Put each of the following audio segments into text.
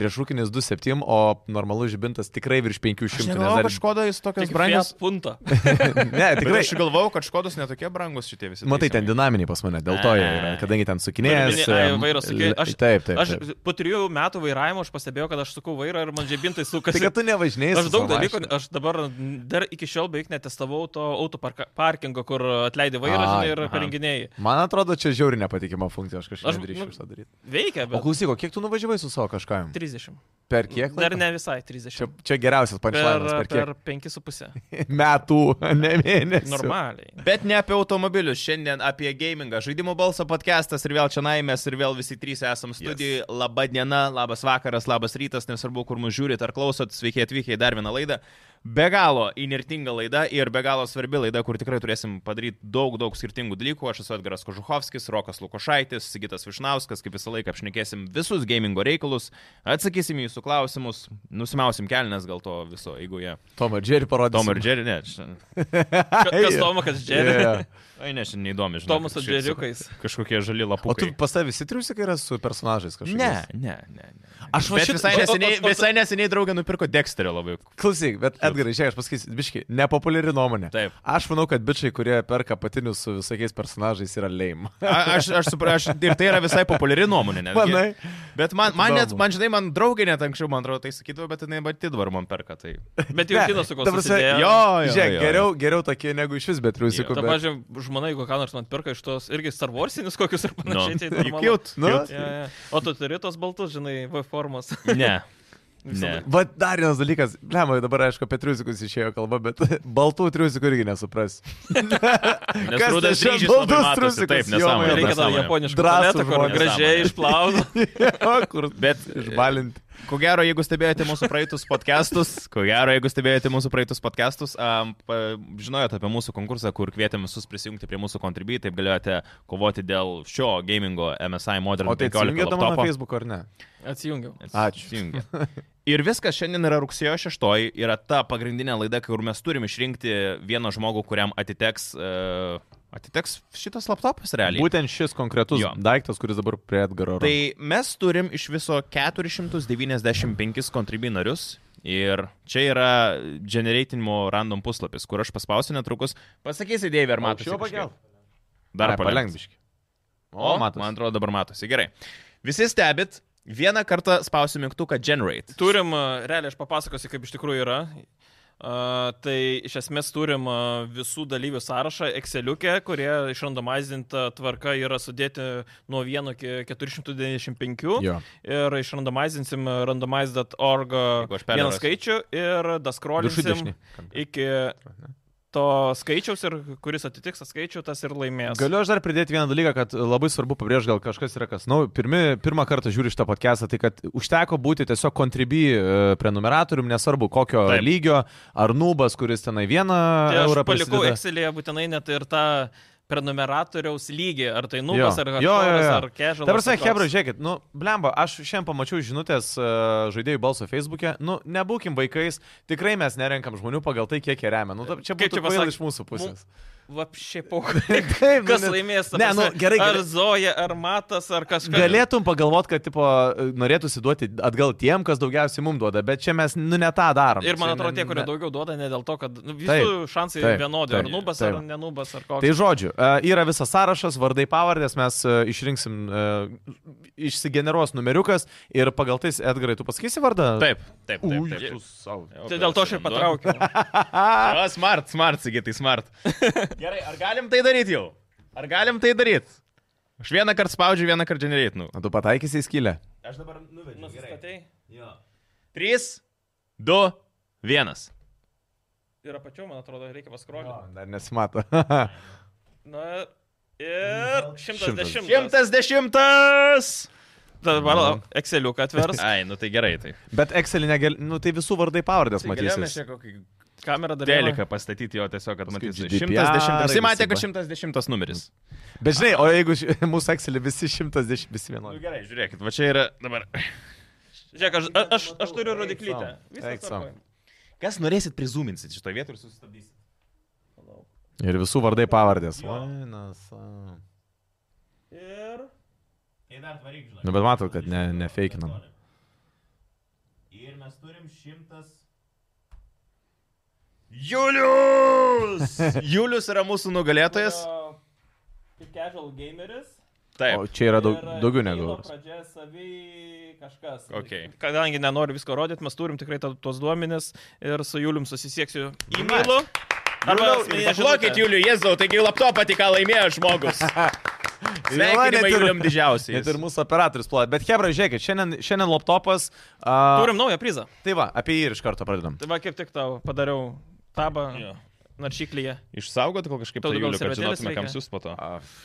Priešrūkinis 2,7, o normalus žibintas tikrai virš 500. Aš nes negalvoju, dar- kad škodas tokios Tik brangios brangios. punta. ne, Tikrai tikrai. aš galvojau, kad škodas netokie brangus šitie visi. Matai, ten taisymai. dinaminiai pas mane, dėl to jie yra, kadangi ten sukinėjęs. Turi omeny, ai, vairas sukioja. Aš- taip, taip. Aš taip. po trijų metų vairavimo aš pastebėjau, kad aš sukau vairą ir man žibintai Tai sukasi. kad tu nevažinėjai. Aš daug dalykų, aš dabar dar iki šiol beveik netestavau to autoparkingo, kur atleidai vairą Ai, žinai, ir aha. parenginėjai. Man atrodo, čia žiauriai nepatikima funkcija, aš Aš- kažkaip nedrįšiu nu- iš to daryti. Veikia, O bet klausyk, o kiek tu nuvažiavai su savo kažkam? 30. Per kiek? Dar laiko? ne visai Čia, 30. čia geriausias Per, pančlainas, per, per 5,5. kiek metų, ne mėnesių. Normaliai. Bet ne apie automobilius, šiandien apie gamingą. Žaidimų balso podcastas ir vėl čia naimės ir vėl visi trys esam studijoje. Yes. Labą dieną, labas vakaras, labas rytas, nesvarbu, kur mus žiūrit ar klausot, sveiki atvykę į dar vieną laidą. Be galo inirtinga laida ir be galo svarbi laida, kur tikrai turėsim padaryti daug, daug skirtingų dalykų. Aš esu Edgaras Kožuhovskis, Rokas Lukošaitis, Sigitas Višnauskas, kaip visą laiką apšnekėsim visus gamingo reikalus, atsakysim į jūsų klausimus, nusimausim kelnes gal to viso, jeigu jie. Tom ir Jerry parodė. Tom ir Jerry, ne, čia. Ka- Kas Tomakas Džeris? Ai, ne, šiandien įdomi, žinau. Tomas su Džeriukais. Kažkokie žali O tu lapukai. pas tavęs visi triusikai yra su personažais kažkokiais? Ne, ne, ne. ne. Aš Bet visai o- o- neseniai, o- o- visai neseniai draugė nupirko Dexterio labai. Klausyk, bet Edgarai, šiek tiek aš pasakysiu, biški, nepopuliari nuomonė. Taip. Aš manau, kad bičiai, kurie perka apatinius su visokiais personažais, yra leim. A, aš, aš suprantu, ir tai yra visai populiari nuomonė. netgi. Manai? Bet man, man, net, Įdomu. man, žinai, man draugė net anksčiau, man atrodo, tai sakydavo, bet jinai pati dabar man perka. Tai... Bet jau kino su kuo ta prasme, susidėjo. jo, Žiūrėk, jo. geriau, geriau tokie negu iš vis be triusikų. Ta, Bet... pažiūrėjau, žmona, jeigu ką nors man pirka iš tos irgi Star Warsinius kokius ir Nu, panašiai. tai juk normalu. cute, Nu? cute. Jo, jo. O tu turi tos baltus, žinai, V formos. Ne. Ne. Visada. Vat dar vienas dalykas, lemai dabar aišku apie triusikus išėjo kalba, bet baltų triusikų irgi nesupras. Nes Kas rudas tai čia ryžys labai baldus matosi, trusikus, taip, jo, nesąmonė. jo. Reikia dar nesąmonė. japoniško Drąsų tualeto, kur žmonės. gražiai išplauna. jo, kur Bet išbalinti. Ko gero, jeigu stebėjote mūsų praeitus podcastus, ko gero, jeigu stebėjote mūsų praeitus podcastus, um, pa, žinojot apie mūsų konkursą, kur kvietėm visus prisijungti prie mūsų kontribui, taip galėjote kovoti dėl šio gamingo MSI Modern O tai 15 atsijungėte mano laptopo. Facebook ar ne? Atsijungiau. Ačiū. Atsijungė. Ir viskas šiandien yra rugsėjo 6, yra ta pagrindinė laida, kur mes turim išrinkti vieną žmogų, kuriam atiteks, uh, atiteks šitas laptopas realiai. Būtent šis konkretus Jo. daiktas, kuris dabar prie Edgaro. rankų. Tai mes turim iš viso 495 kontribinarius. Ir čia yra generatinimo random puslapis, kur aš paspausiu netrukus. Pasakysi, Dėvė, ar matosi? Aukščiau kažkaip? pakelk. Dar Ai, palenk palengviškai. biškį. O, O, matosi. man atrodo, dabar matosi. Gerai. Visi stebit, vieną kartą spausiu mygtuką generate. Turim, a, realiai aš papasakosiu, kaip iš tikrųjų yra. Uh, tai iš esmės turim uh, visų dalyvių sąrašą Exceliukė, kurie išrandomaizinta tvarka yra sudėti nuo 1 iki 495. Jo. Ir išrandomaizinsim randomize.org Jeigu aš vieną perrasiu. skaičių ir Viršų daskrolinsim dešinį. iki to skaičiaus ir kuris atitiks tą skaičių, tas ir laimės. Galiu aš dar pridėti vieną dalyką, kad labai svarbu pabrėžti, gal kažkas yra kas. Na, pirmi, pirmą kartą žiūri šitą podcastą, tai kad užteko būti tiesiog kontribi prenumeratorium, nesvarbu kokio Taip. Taip. lygio, ar nubas, kuris tenai vieną Tai aš eurą palikau prisideda. Excelėje būtinai net ir tą prenumeratoriaus lygį, ar tai nubas, ar jo, jo, hardcore'as, jo. ar casual. Ta prasme, Hebra, žiūrėkit, nu, blemba, aš šiandien pamačiau žinutės e, žaidėjų balso Facebook'e, nu, nebūkim vaikais, tikrai mes nerenkam žmonių pagal tai, kiek jie remia. Nu, ta- čia Kaip būtų čia kvaila pasakyt? iš mūsų pusės. Vapšiai po. Taip, nu, Kas nes- laimės? ta Ne, nu, prasme, gerai, Ar gerai. Zoja, ar Matas, ar kažkas. Galėtum pagalvoti, kad tipo, norėtųsi duoti atgal tiem, kas daugiausiai mums duoda, bet čia mes nu, ne tą darom. Ir man Čia atrodo, ne- tie, kurie ne- daugiau duoda, ne dėl to, kad nu, visų Taip, šansai taip, vienodi. taip, Ar nubas, taip. ar nenubas, ar Tai koks. žodžiu, e, yra visas sąrašas, vardai, pavardės, mes e, išrinksim, e, išsigeneruos numeriukas ir pagal tais, Edgarai, tu pasakysi vardą? Taip, taip, taip. Uj, taip. tu sau. Tai dėl to aš ir patraukiau. O, smart, smart, sigitai, smart. Gerai, ar galim tai daryti jau? Ar galim tai daryti? Aš vieną kartą spaudžiu, vieną kartą generate. Nu. O tu pataikysi į skylę. Aš dabar nuvedžiu. Nusistatei? 3, 2, 1. Ir apačiau, man atrodo, reikia paskrolinti. Dar nesimato. Na ir 110. 110. Dabar Exceliuką atvers. Ai, nu tai gerai, tai. Bet Excelį negali, nu tai visų vardai pavardės matysis. Kamerą dar Deliką pastatyti jo tiesiog, kad Paskui matysi. GDPR 110. Visi ir matė, kad visi 110 numeris. Bet žinai, o jeigu ši- mūsų Excelį visi 110, visi Nu vienodi. gerai, žiūrėkit, va čia yra dabar. Žiūrėk, aš, a- aš, aš turiu rodiklytę. sau. Viskas Eik sau. tvarkoj. Kas norėsit prizuminsit šitoje vietoje ir sustabdysit? Ir visų vardai pavardės. Jo. Vainas. a. Ir. Tai dar varyk, žinai. Nu bet matot, kad ne, nefeikinam. mes turim šimtas. Julius! Julius yra mūsų nugalėtojas. Tik casual gameris. O Taip. čia yra daug, Ir daugiau negu kilo euras. Pradžia savi kažkas. Ok. Kadangi nenoriu visko rodyti, mes turim tikrai ta- tuos duomenis ir su Julium susisieksiu Nice. e-mailu. Arba asmeninę žinutę. Paklokit tai- Juliu, Jėzau, taigi laptopą tik ką laimėjo žmogus. net Sveikinimai ir- Julium didžiausiai. Net ir mūsų operatorius ploja. Bet Hebra, žiūrėkit, šiandien, šiandien laptopas. Uh, Turim naują prizą. Tai va, apie jį ir iš karto pradedam. Tai va kaip tik tau padariau tabą Jo. naršyklyje. Išsaugot gal kažkaip Tau tą daugiau Julių, kad servetėlės žinotume, kam reikia? siūs po to.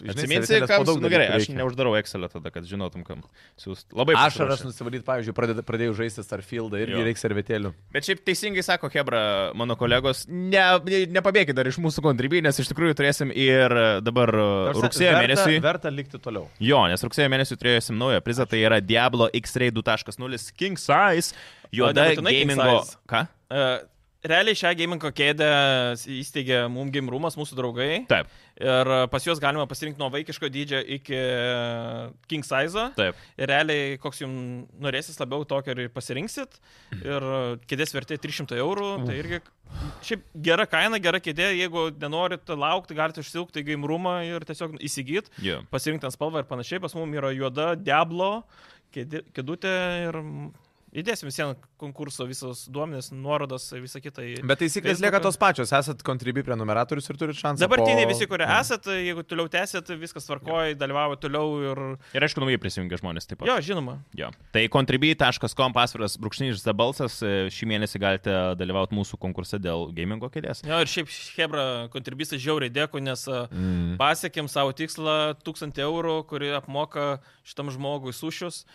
Žinai, Atsiminsi, servetėlės kam po daug siūs. Nu gerai, aš dalykų reikia. neuždarau Excelio tada, kad žinotum, kam siūs. Labai Ašaras pasiruošęs. nusivalyt, pavyzdžiui, pradeda, pradėjau žaisti Starfieldą ir Jo. reikia servetėlių. Bet šiaip teisingai sako Hebra, mano kolegos, ne, ne, nepabėgit dar iš mūsų kontribį, nes iš tikrųjų turėsim ir dabar e, Ta prasme, rugsėjo verta- mėnesį. Verta likti toliau. Jo, nes rugsėjo mėnesį turėsim naują prizą, tai yra Diablo X-Ray 2.0 King Size, juoda nebūtinai king gamingo. size. Ką? E, Realiai šią gamingo kėdę įsteigė mum game roomas, mūsų draugai. Taip, Ir pas juos galima pasirinkti nuo vaikiško dydžio iki e, king size. taip. Ir realiai, koks jums norėsis labiau, tokio ir pasirinksit. Ir e, kėdės vertė 300 eurų. Tai irgi šiaip gera kaina, gera kėdė. Jeigu nenorit laukti, galite užsilgti į game roomą ir tiesiog įsigyti. Yeah. Pasirinktą spalvą ir panašiai. Pas mum yra juoda Diablo kėdė- kėdutė ir mm, įdėsim visiems konkurso visos duomenys, nuorodos, visa kita. į Bet taisyklės Facebooką. lieka tos pačios. Esat kontribį prenumeratorius ir turit šansą. po- Dabartiniai Mm. visi, kurie Jo. esat, jeigu toliau tęsit, viskas tvarkoja, dalyvavo toliau ir... Ir aišku, naujai prisijungia žmonės taip pat. Jo, žinoma. Jo. Tai contribui.com pasviras brūkšnys zabalsas, e, šį mėnesį galite dalyvauti mūsų konkurse dėl gamingo kėdės. Jo, ir šiaip Hebra kontribistas žiauriai dėkui, nes a, Mm. pasiekėm savo tikslą 1000 eurų, kuri apmoka šitam žmogui sušius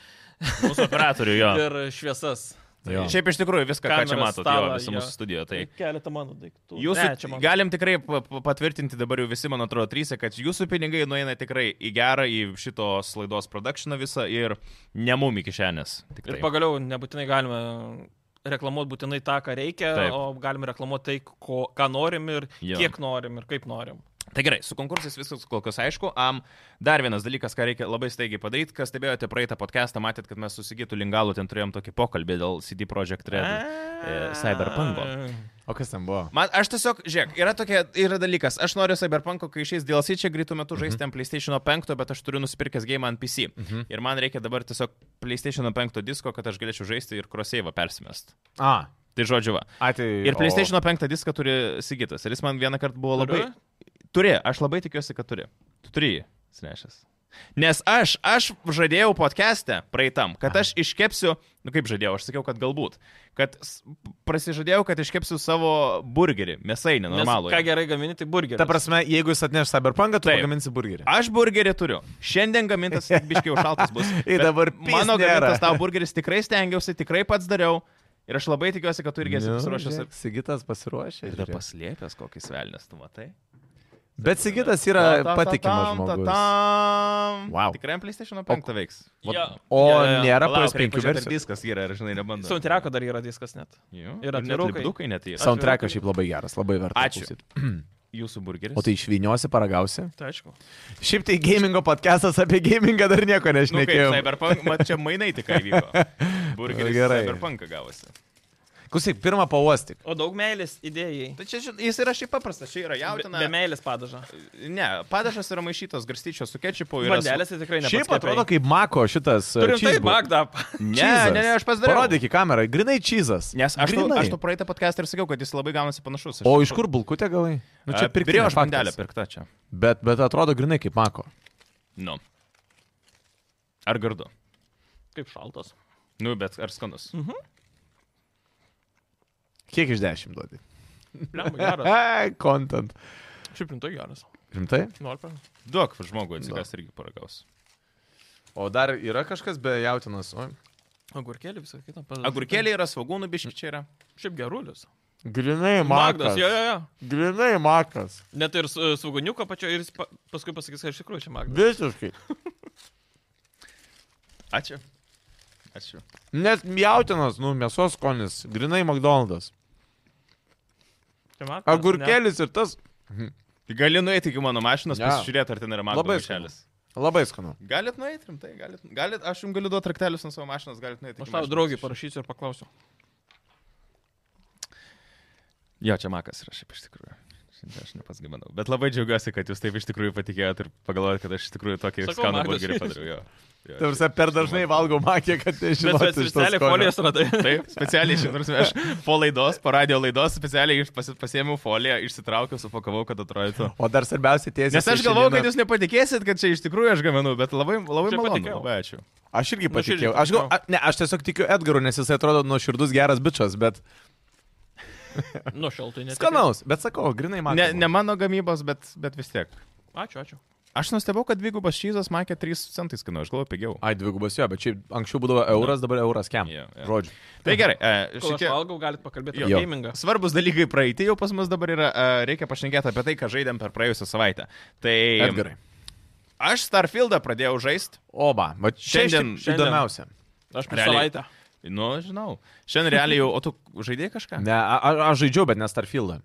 Mūsų operatorių, jo. ir šviesas. Tai Jo. Šiaip iš tikrųjų viską, ką čia Kamerą, matot, jo, stalą, visą jo. mūsų studiją. Tai keletą mano daiktų. Jūsų, ne, čia man. galim tikrai pa- pa- patvirtinti dabar jau visi, man atrodo, trys, kad jūsų pinigai nueina tikrai į gerą, į šitos laidos produkciją visą ir ne mum į kišenės. Ir tiktai. pagaliau nebūtinai galime reklamuoti būtinai tą, ką reikia, Taip. Taip. o galime reklamuoti tai, ko, ką norim ir Jo. jo. kiek norim ir kaip norim. Tai gerai, su konkursais viskas kol kas aišku. Um, dar vienas dalykas, ką reikia labai staigiai padaryti, kas stebėjote praeitą podcastą, matėt, kad mes susigytų lingalų, ten turėjom tokį pokalbį dėl CD Projekt Red. e, Cyberpunko. O kas ten buvo? Man, aš tiesiog, žiūrėk, yra tokia, yra dalykas, aš noriu Cyberpunk'o, kai išeis DLC, čia greitų metų žaisti ant PlayStation 5, bet aš turiu nusipirkęs game ant PC. Mhm. Ir man reikia dabar tiesiog PlayStation 5 disko, kad aš galėčiau žaisti ir crossėjimą persimest. A. Tai žodžiu, va. Atei, Ir PlayStation 5 diską turi Sigitas. Ir jis man vieną kartą buvo labai... Turiu? Turi, aš labai tikiuosi, kad turi. Tu turi jį, Snešas. Nes aš, aš žadėjau podcast'e praeitam, kad aš iškepsiu, nu kaip žadėjau, aš sakiau, kad galbūt, kad s- prasižadėjau, kad iškepsiu savo burgerį, mėsainį normalų. Ką gerai gaminti, tai burgerį. Ta prasme, jeigu jis atneš Cyberpunk'ą, tu Taip. pagaminsi burgerį. Aš burgerį turiu. Šiandien gamintas tik biškiai užšaltas bus. Ir Bet dabar pys mano nėra. gamintas tavo burgeris tikrai stengiausi, tikrai pats dariau. Ir aš labai tikiuosi, kad tu irgi esi Nu, pasiruošęs. žiūrėk, Sigitas pasiruošė. Ir dar žiūrėk. paslėpęs kokį svelnės, tu matai? Bet Sigitas yra patikimas žmogus. Wow. Wow. Tikrai ant PlayStation 5 veiks. Vat- Jo. O Jo, jo. nėra Palauk, reikia PS5 pažiūrėt, ar versijų. Diskas yra, ar žinai, nebandau. Soundtrack'o dar yra diskas net. Ir Ir atvirukai. atvirukai net yra. Soundtrackas šiaip labai geras, labai verta. Ačiū. klausyt. Jūsų burgeris. O tai išviniosi, paragausi. Tai aišku. Šiaip tai gamingo podcastas apie gamingą dar nieko nu, kaip nešnekėjau. Cyberpunk, mat čia mainai tik įvyko. Burgeris Gerai. Cyberpunk gavosi. Klausyk, pirmą pauostik. O daug meilės idėjai. Tai čia žin- jis yra šiaip paprastas, čia yra Be, jautina. be meilės padažą. Ne, padažas yra maišytas garstyčios su kečupu ir... Vandelės tai tikrai ne. Šiaip atrodo kaip Mako šitas. e, Turim tai cheeseburger. bagdap. Ne, Cheesas. ne, ne, aš pasidariau. Parodyk į kamerą, grinai čizas. Nes aš tu, aš tu praeitą podcastą ir sakiau, kad jis labai gaunasi panašus. Aš O iš kur bulkutė galai? Nu čia pirkti. Pirėjau aš vandelę pirktą čia. Bet, bet atrodo grinai kaip Mako. Nu. Ar gardu? Kaip šaltas. Nu, bet ar skanus? Kiek iš dešimt duodi? Lemba, geras. E, content. Šiaip rimtai geras. Rimtai? Norpė. Duok žmogui atsikas irgi paragaus. O dar yra kažkas be jautinas. Oi. Agurkėlį visą kitą. padažą. Agurkėlė yra, svagūnų biški čia yra. Šiaip gerulius. Grinai Magdas. Jo, jo, jo. Grinai Makas. Net ir su- svoguniuko pačio ir jis pa, paskui pasakys, kad iš tikrųjų čia magdas. Visiškai. Ačiū. Ačiū. Net jautinas, nu, mėsos skonis. Grinai McDonald's. Čia magdas. Agurkėlis ir tas Gali nueiti iki mano mašinos, Jo. ja. pasižiūrėti, ar ten yra mano Labai mašinelis. labai skanu. Galit nueiti rimtai, galit, galit, aš jums galiu duoti traktelius ant savo mašinos, galit nueiti. Aš tavo draugį parašysiu ir paklausiu. Jo, čia makas yra šiaip iš tikrųjų. Šiandien aš nepasgyvenau. Bet labai džiaugiuosi, kad jūs taip iš tikrųjų patikėjot ir pagalvojot, kad aš iš tikrųjų tokį Sakau, skanų Magas. burgerį padariau. Jo. Jo, Tai prasme, per dažnai valgau makę, kad Bet nežinau. bet specialiai folijos radai. Taip, specialiai, šiandien, prasme, aš po laidos, po radio laidos, specialiai iš- pasi- pasiėmiau foliją, išsitraukiau, supakavau, kad atrodytų. O dar svarbiausia tiesiai. Nes aš galvojau, kad jūs nepatikėsit, kad čia iš tikrųjų aš gaminu, bet labai, labai Čia malonu. patikėjau. Labai ačiū. Aš irgi Nuoširdžiai patikėjau. Aš, gal, patikėjau. a, ne, aš tiesiog tikiu Edgaru, nes jis atrodo nuoširdus geras bičias, bet Nu, šaltai net. skanaus, bet sakau, grinai man. Ne, ne mano gamybos, bet, bet vis tiek. Ačiū, ačiū. Aš nustebau, kad dvigubas šyzas makė 3 centais kainuoja, aš galvoju pigiau. Ai, dvigubas jo, bet čia anksčiau būdavo euras, dabar euras kem. Jo, jo. Žodžiu. Tai gerai, e, Kol aš šitie valgau, galit pakalbėti apie Jo. gamingą. svarbus dalykai praeiti jau pas mus dabar yra, e, reikia pašnekėti apie tai, ką žaidėm per praėjusią savaitę. Tai Edgarai. aš Starfieldą pradėjau žaisti, Oba, va čia šiandien Šiandien- įdomiausia. Aš prieš Realiai. savaitę. nu, žinau, šiandien realiai jau, o tu žaidėjai kažką? Ne, a- a- aš žaidžiau, bet ne Starfieldą.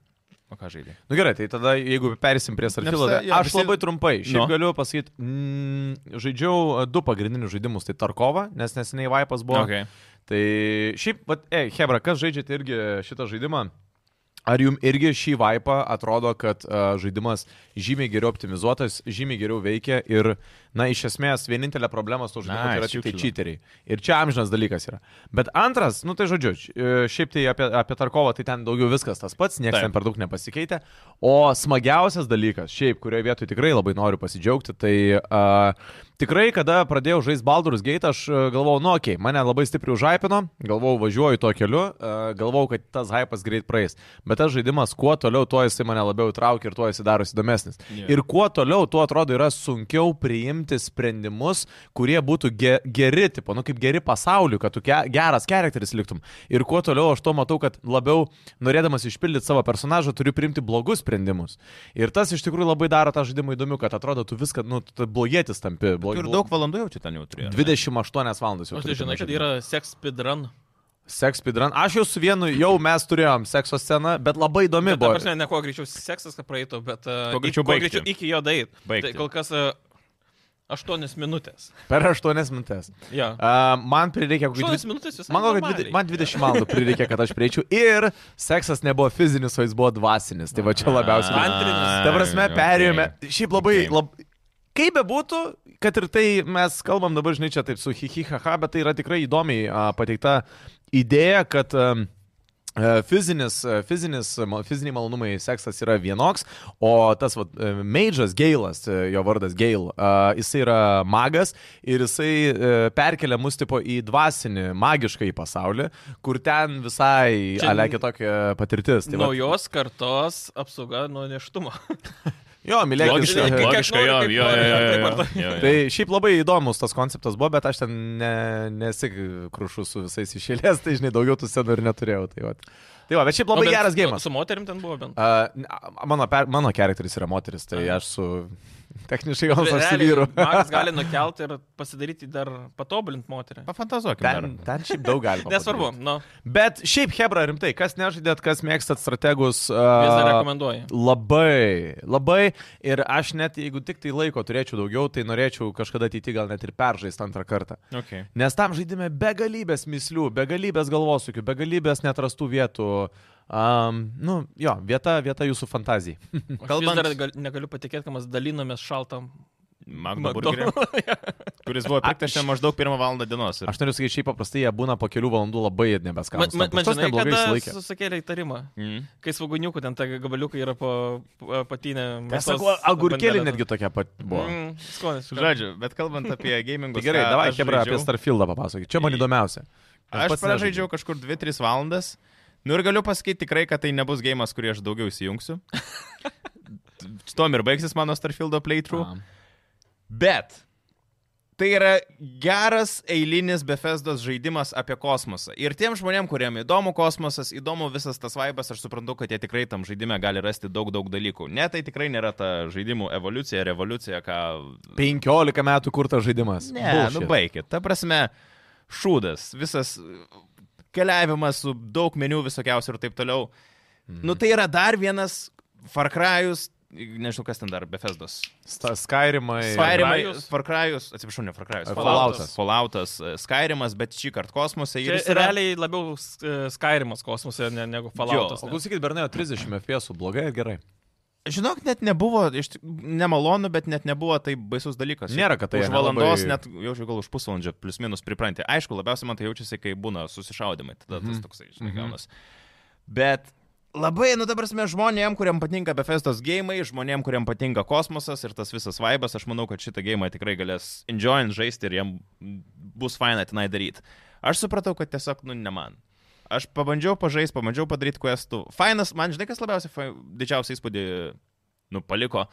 O ką žaidėjai? Na nu gerai, tai tada jeigu persim prie Starfieldo, Nes, tai jo, aš visi- labai trumpai, šiaip no. Nu. galiu pasakyti, mm, žaidžiau e, du pagrindinius žaidimus, tai Tarkovą, nes neseniai Vaipas buvo. Okay. Tai šiaip, vat, e, Hebra, kas žaidžiate irgi šitą žaidimą? Ar jums irgi šį vaipą atrodo, kad uh, žaidimas žymiai geriau optimizuotas, žymiai geriau veikia ir, na, iš esmės, vienintelė problema su žaidimu Na, tai yra tik tai šiukšlina. čyteriai. Ir čia amžinas dalykas yra. Bet antras, nu tai žodžiu, š- e, šiaip tai apie, apie Tarkovą, tai ten daugiau viskas tas pats, niekas Taip. ten per daug nepasikeitė. O smagiausias dalykas, šiaip, kurioje vietoje tikrai labai noriu pasidžiaugti, tai uh, tikrai, kada pradėjau žaisti Baldur's Gate, aš e, galvojau, nu, okei, okay, mane labai stipriai užaipino, galvojau, važiuoju tuo keliu, uh, galvojau, kad tas hypas greit praeis. Bet tas žaidimas, kuo toliau, tuo jisai mane labiau traukia ir tuo jisai darosi įdomesnis. Jo. Yeah. Ir kuo toliau, tuo atrodo yra sunkiau priimti sprendimus, kurie būtų ge geri, tipo, nu kaip geri pasauliu, kad tu ge geras charakteris liktum. Ir kuo toliau aš to matau, kad labiau norėdamas išpildyti savo personažą turiu priimti blogus sprendimus. Ir tas iš tikrųjų labai daro tą žaidimą įdomiu, kad atrodo tu viską, nu, tu tu blogietis tampi. Tu Blog... ir daug valandų jau čia ten jau turėjai. 28 valandas jau. Aš turi tai žinai, tame kad žaidime. yra seks speedrun. Seks speedrun. Aš jau su vienu, jau mes turėjom sekso sceną, bet labai įdomi Bet, Nu, ta Nu, buvo. prasme, ne kuo greičiau seksas, kad praeitų, bet... uh, Kuo ik- greičiau kuo baigti. greičiau iki jo dait. Baigti. Tai kol kas... uh, Aštuonias minutės. Per 8 minutės. Ja. Uh, man prireikė kokių Aštuonias 20 minutės visą. Man, gal, kad dvide- man 20 valandų prireikė, kad aš prieičiau. Ir seksas nebuvo fizinis, o jis buvo dvasinis. Tai va čia labiausiai. Ai, Antrinis. Ta prasme, perėjome. Šiaip labai, Okay. lab... kaip bebūtų, kad ir tai mes kalbam dabar, žinai, čia taip su hihihaha, bet tai yra tikrai įdomiai a, pateikta idėja, kad a, E, Fizinis, e, fizinis, e, ma- fiziniai malonumai seksas yra vienoks, o tas vat, e, Mage'as, Gailas, e, jo vardas Gail, e, jisai yra magas ir jisai e, perkelia mus tipo į dvasinį, magišką į pasaulį, kur ten visai Čia alekia tokia patirtis. Tai Tai vat- Naujos kartos apsauga nuo neštumo. jo, e, Logiška, mylėkit. logiška. Tai šiaip labai įdomus tas konceptas buvo, bet aš ten ne, nesikrušu su visais išėlės, tai žinai, daugiau tų scenų ir neturėjau. Tai, vat. tai va, bet šiaip labai Nu, no, bet geras su- gėjimas. Su moterim ten buvo bent. Uh, mano, per, mano charakteris yra moteris, tai Aha. aš su... Techniškai gal aš su Realiai, vyru. Magas gali nukelti ir pasidaryti dar patobulinti moterį. Pafantazuokime. Ten, ten šiaip daug galima. Nesvarbu, padaryt. nu, Bet šiaip Hebra rimtai, kas nežaidėt, kas mėgstat strategus. vis Uh, dar rekomenduoju. Labai, labai. Ir aš net jeigu tik tai laiko turėčiau daugiau, tai norėčiau kažkada ateityje gal net ir peržaisti antrą kartą. Okay. Nes tam žaidime begalybės mislių, begalybės galvosūkių, begalybės netrastų vietų. Um, nu, jo, vieta, vieta jūsų fantazijai. Kalbant... Kalbant- Vis dar gal, negaliu patikėti, kad mes dalinomės šaltam. Magno burgerį, McDonald's. kuris buvo pirktas čia maždaug pirmą valandą dienos. Ir... Aš noriu sakyti, šiaip paprastai jie būna po kelių valandų labai Man, nebeskanus. man, man žinai, neblogai kad išsilaikė. susakėlė įtarimą. Mm. Kai svaguniukų ten ta gabaliukai yra po po apatinę. Aš mėsos sakau, agurkėlė bandelę. netgi tokia pat buvo. Mm, skonis. Žodžiu, bet kalbant apie gamingą. Tai gerai, davai, Hebra, apie Starfieldą papasakok. Čia man įdomiausia. Aš pats pražaidžiau nežaidžiau. kažkur 2-3 valandas. Nu ir galiu pasakyti tikrai, kad tai nebus gėjimas, kurį aš daugiau įsijungsiu. Tom ir baigsis mano Starfieldo playthrough. A. Bet tai yra geras eilinis Befesdos žaidimas apie kosmosą. Ir tiem žmonėm, kuriem įdomu kosmosas, įdomu visas tas vaibas, aš suprantu, kad jie tikrai tam žaidime gali rasti daug, daug dalykų. Ne, tai tikrai nėra ta žaidimų evoliucija, revoliucija, ką... 15 metų kurtas žaidimas. Ne, Bullshit. nu baikit. Ta prasme, šūdas, visas keliavimas Mhm. su daug menių visokiausių ir taip toliau. Mm. Nu tai yra dar vienas Far Cryus nežinau kas ten dar, Befesdos. Sta- Skyrimai. Skyrimai, Cryus? Far Cryus, atsiprašau, ne Far Cryus, Falloutas. Falloutas. Falloutas, e, Skyrimas, bet šį kartą kosmose ir Čia jis yra- realiai labiau s- e, Skyrimas kosmose ne, negu Falloutas. O nes- klausykit, Bernėjo 30 FPS, -ų, blogai ar gerai? Žinok, net nebuvo, iš tik- nemalonu, bet net nebuvo tai baisus dalykas. Nėra, kad tai Už valandos, nelabai- net jaučiu gal už pusvalandžio, plus minus pripranti. Aišku, labiausiai man tai jaučiasi, kai būna susišaudimai, tada tas toksai, žinai, Mhm. gaunas. Bet labai, nu dabar mes žmonėm, kuriam patinka Befestos gėjimai, žmonėm, kuriam patinka kosmosas ir tas visas vaibas, aš manau, kad šitą gėjimą tikrai galės enjoyant žaisti ir jam bus faina tenai daryti. Aš supratau, kad tiesiog, nu, ne man. Aš pabandžiau pažaisti, pabandžiau padaryti questų. Fainas, man žinai, kas labiausiai fai, didžiausią įspūdį, nu, paliko,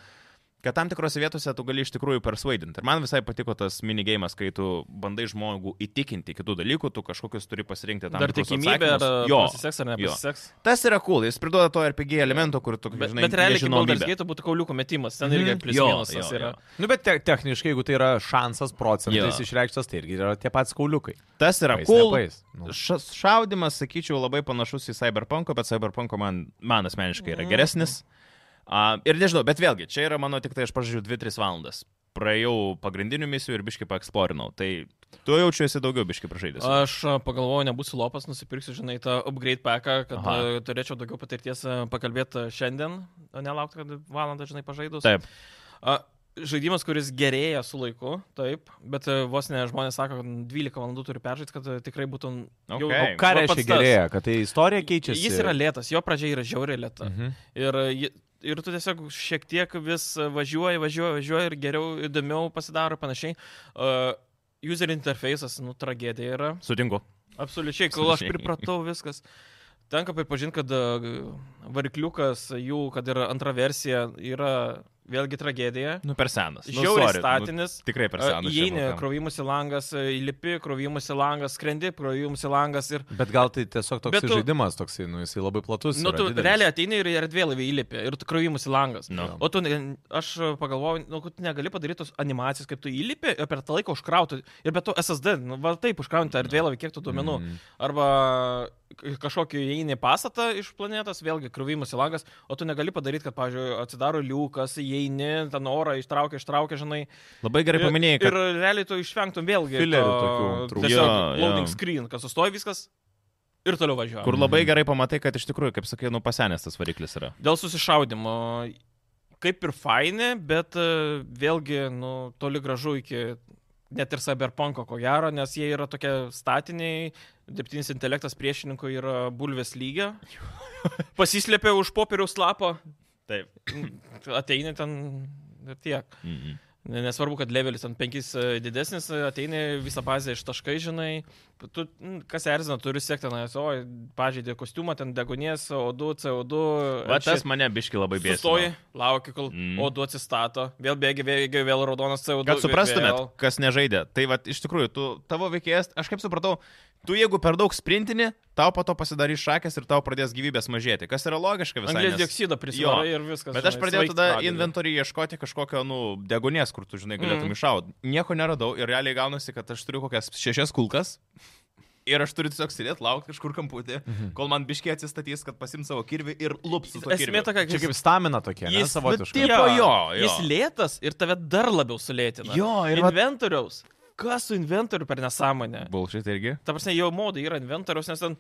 kad tam tikrose vietose tu gali iš tikrųjų persuaidinti. Ir man visai patiko tas minigėjimas, kai tu bandai žmogų įtikinti kitų dalykų, tu kažkokius turi pasirinkti tam Dar tikrus tikimybė, ar atsakymus. jo, jo. pasiseks ar jo. nepasiseks. Tas yra cool, jis priduoda to RPG elemento, kur tu, Bet, žinai, bet realiai, kaip Baldur's nežinomybė. Gate būtų kauliukų metimas, ten irgi Mhm. plius Jo, jo, minusas yra. jo. Nu, bet te techniškai, jeigu tai yra šansas procentais Jo. išreikštas, tai irgi yra tie patys kauliukai. Tas yra Pais, cool. nepais. Nu. Ša šaudimas, sakyčiau, labai panašus į Cyberpunk'o, bet Cyberpunk'o man, man asmeniškai Mhm. yra geresnis. A, ir nežinau, bet vėlgi, čia yra mano tik tai aš pažiūrėjau 2-3 valandas. Praėjau pagrindinių misijų ir biškai paeksplorinau. Tai tu jaučiuosi daugiau biškai pražaidęs. Aš a, pagalvojau, nebūsiu lopas, nusipirksiu, žinai, tą upgrade packą, kad Aha. a, turėčiau daugiau patirties a, pakalbėti šiandien, o nelaukti, kad valandą, žinai, pažaidus. Taip. A, žaidimas, kuris gerėja su laiku, taip, bet a, vos ne žmonės sako, kad 12 valandų turi peržaisti, kad a, tikrai būtų... jau- Okay. o nu, Ką va reiškia pats tas. gerėja, kad tai istorija keičiasi? Jis yra lėtas, jo pradžia yra žiauriai lėta. Mhm. Mm. Ir, ji- ir tu tiesiog šiek tiek vis važiuoji, važiuoji, važiuoji ir geriau, įdomiau pasidaro ir panašiai. Uh, user interfejsas, nu, tragedija yra. Sutinku. Absoliučiai, kol aš Absoliučiai. pripratau viskas. Tenka pripažinti, kad a, varikliukas jų, kad yra antra versija, yra vėlgi tragedija. Nu, per senas. Nu, Žiauriai sorry, statinis. Nu, tikrai per A, senas. šiam Įeini, laikam. krovimusi langas, a, įlipi, krovimusi langas, skrendi, krovimusi langas ir... Bet gal tai tiesiog toks Bet tu- žaidimas, toksai, nu, jisai labai platus. Nu, yra, tu didelis. realiai ateini ir į erdvėlaivį įlipi ir tu krovimusi langas. Nu. Jo. O tu, ne- aš pagalvojau, nu, kad tu negali padaryti tos animacijos, kaip tu įlipi ir per tą laiką užkrauti. Ir be to SSD, nu, va taip, užkrauti tą erdvėlą, kiek tų duomenų. Mm. Mhm. Arba k- kažkokį įeini į pastatą iš planetos, vėlgi krūvimas į langas, o tu negali padaryti, kad, pavyzdžiui, atsidaro liukas, įeini, ten orą ištraukia, ištraukia, žinai. Labai gerai paminėjai, kad... Ir realiai tu išvengtum vėlgi. Filerių to- tokių trūksta. Tiesiog Jo, jo. loading screen, kad sustoja viskas ir toliau važiuoja. Kur labai gerai pamatai, kad iš tikrųjų, kaip sakai, nu pasenęs tas variklis yra. Dėl susišaudimo. Kaip ir faini, bet e, vėlgi, nu, toli gražu iki net ir Cyberpunko, ko gero, nes jie yra tokie statiniai, dirbtinis intelektas priešininkų yra bulvės lygio. Pasislėpia už popieriaus lapo, Taip. ateini ten ir tiek. Mhm. Nesvarbu, kad levelis ten penkis e, didesnis, e, ateini visą bazę iš taškai, žinai. Tu, mm, kas erzina, turi siekti, na, o, pažeidė kostiumą, ten degonės, O2, CO2. Va and shit. tas mane biški labai bėga. Sustoji, lauki, kol mm. Mm. odu atsistato, vėl bėgi, bėgi, vėl raudonas CO2. Kad suprastumėt, vėl. kas nežaidė. Tai va, iš tikrųjų, tu, tavo veikėjas, aš kaip supratau, tu jeigu per daug sprintini, tau po to pasidarys šakės ir tau pradės gyvybės mažėti. Kas yra logiška visai. Anglės nes- dioksidą prisijungia Jo. ir viskas. Bet aš žinai, pradėjau svaigt tada pradedi. inventorių ieškoti kažkokio, nu, degonės, kur tu, žinai, galėtum Mhm. mm. iššaudyti. Nieko neradau ir realiai gaunasi, kad aš turiu kokias šešias kulkas. Ir aš turiu tiesiog sėdėti, laukti kažkur kamputį, Mhm. kol man biškiai atsistatys, kad pasim savo kirvi ir lupsiu. Esmė tokia, Čia kad kaip stamina tokia, ne, Jis- nu, savotiškai. tie- tipo jo, jo. Jis lėtas ir tave dar labiau sulėtina. Jo, ir vat- inventoriaus. Kas su inventoriu per nesąmonę? Bulšit irgi. Ta prasme, jau modai yra inventoriaus, nes ten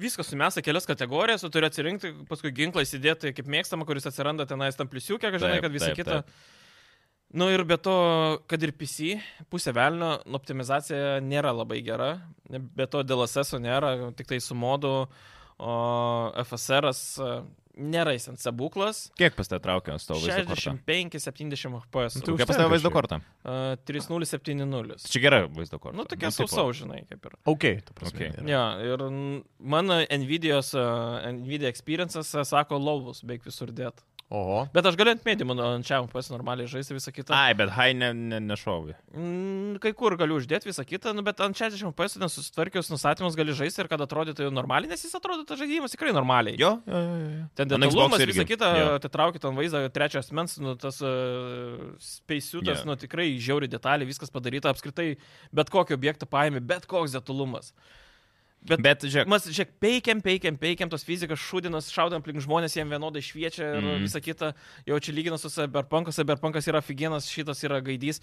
viskas sumesa kelias kategorijas, tu turi atsirinkti, paskui ginklą įsidėti kaip mėgstamą, kuris atsiranda tenais tam pliusiukė, kad žinai, Taip, kad visa taip, kita. taip. Na nu ir be to, kad ir PC, pusė velnio, optimizacija nėra labai gera, be to dėl SS nėra, tik tai su modu, o FSR e, nėra jis ant sebuklas. Kiek pas te traukė ant stovo vaizdo kortą? 65-70 FPS. Tu- Tu... Kokia pas te užtenka vaizdo šiaip. kortą? E, 3070. Tai Čia gera vaizdo kortą. Nu, tokia tipo- sausau, žinai, kaip ir. Ok, tu prasme. Ok. yra. Ja, ir n- mano Nvidia's, uh, Nvidia Experience'as uh, sako lovus beveik visur dėt. Oho. Bet aš galiu ant medimų, ant čia pas normaliai žaisti visą kitą. Ai, bet Hai ne, ne, nešovė. Mm, Kai kur galiu uždėti visą kitą, nu, bet ant 60 PS nesusitvarkius nustatymus gali žaisti ir kad atrodytų jau normaliai, nes jis atrodo tas žaidimas tikrai normaliai. Jo, jo, jo, jo. Ten Ant Xbox'o detalumas, visą irgi. kitą, Jo. atitraukit ant vaizdą, trečias mens, nu, tas uh, Jo. speisiutas, yeah. nu tikrai žiauri detalė, viskas padaryta, apskritai bet kokį objektą paėmė, bet koks detalumas. Bet, bet Bet, žiūrėk, mes, žiūrėk, peikiam, peikiam, peikiam tos fizikas, šūdinas, šaudam aplink žmonės, jiem vienodai šviečia ir Mhm. mm. visa kita. Jau čia lyginas su Cyberpunkas, Cyberpunkas yra figienas, šitas yra gaidys.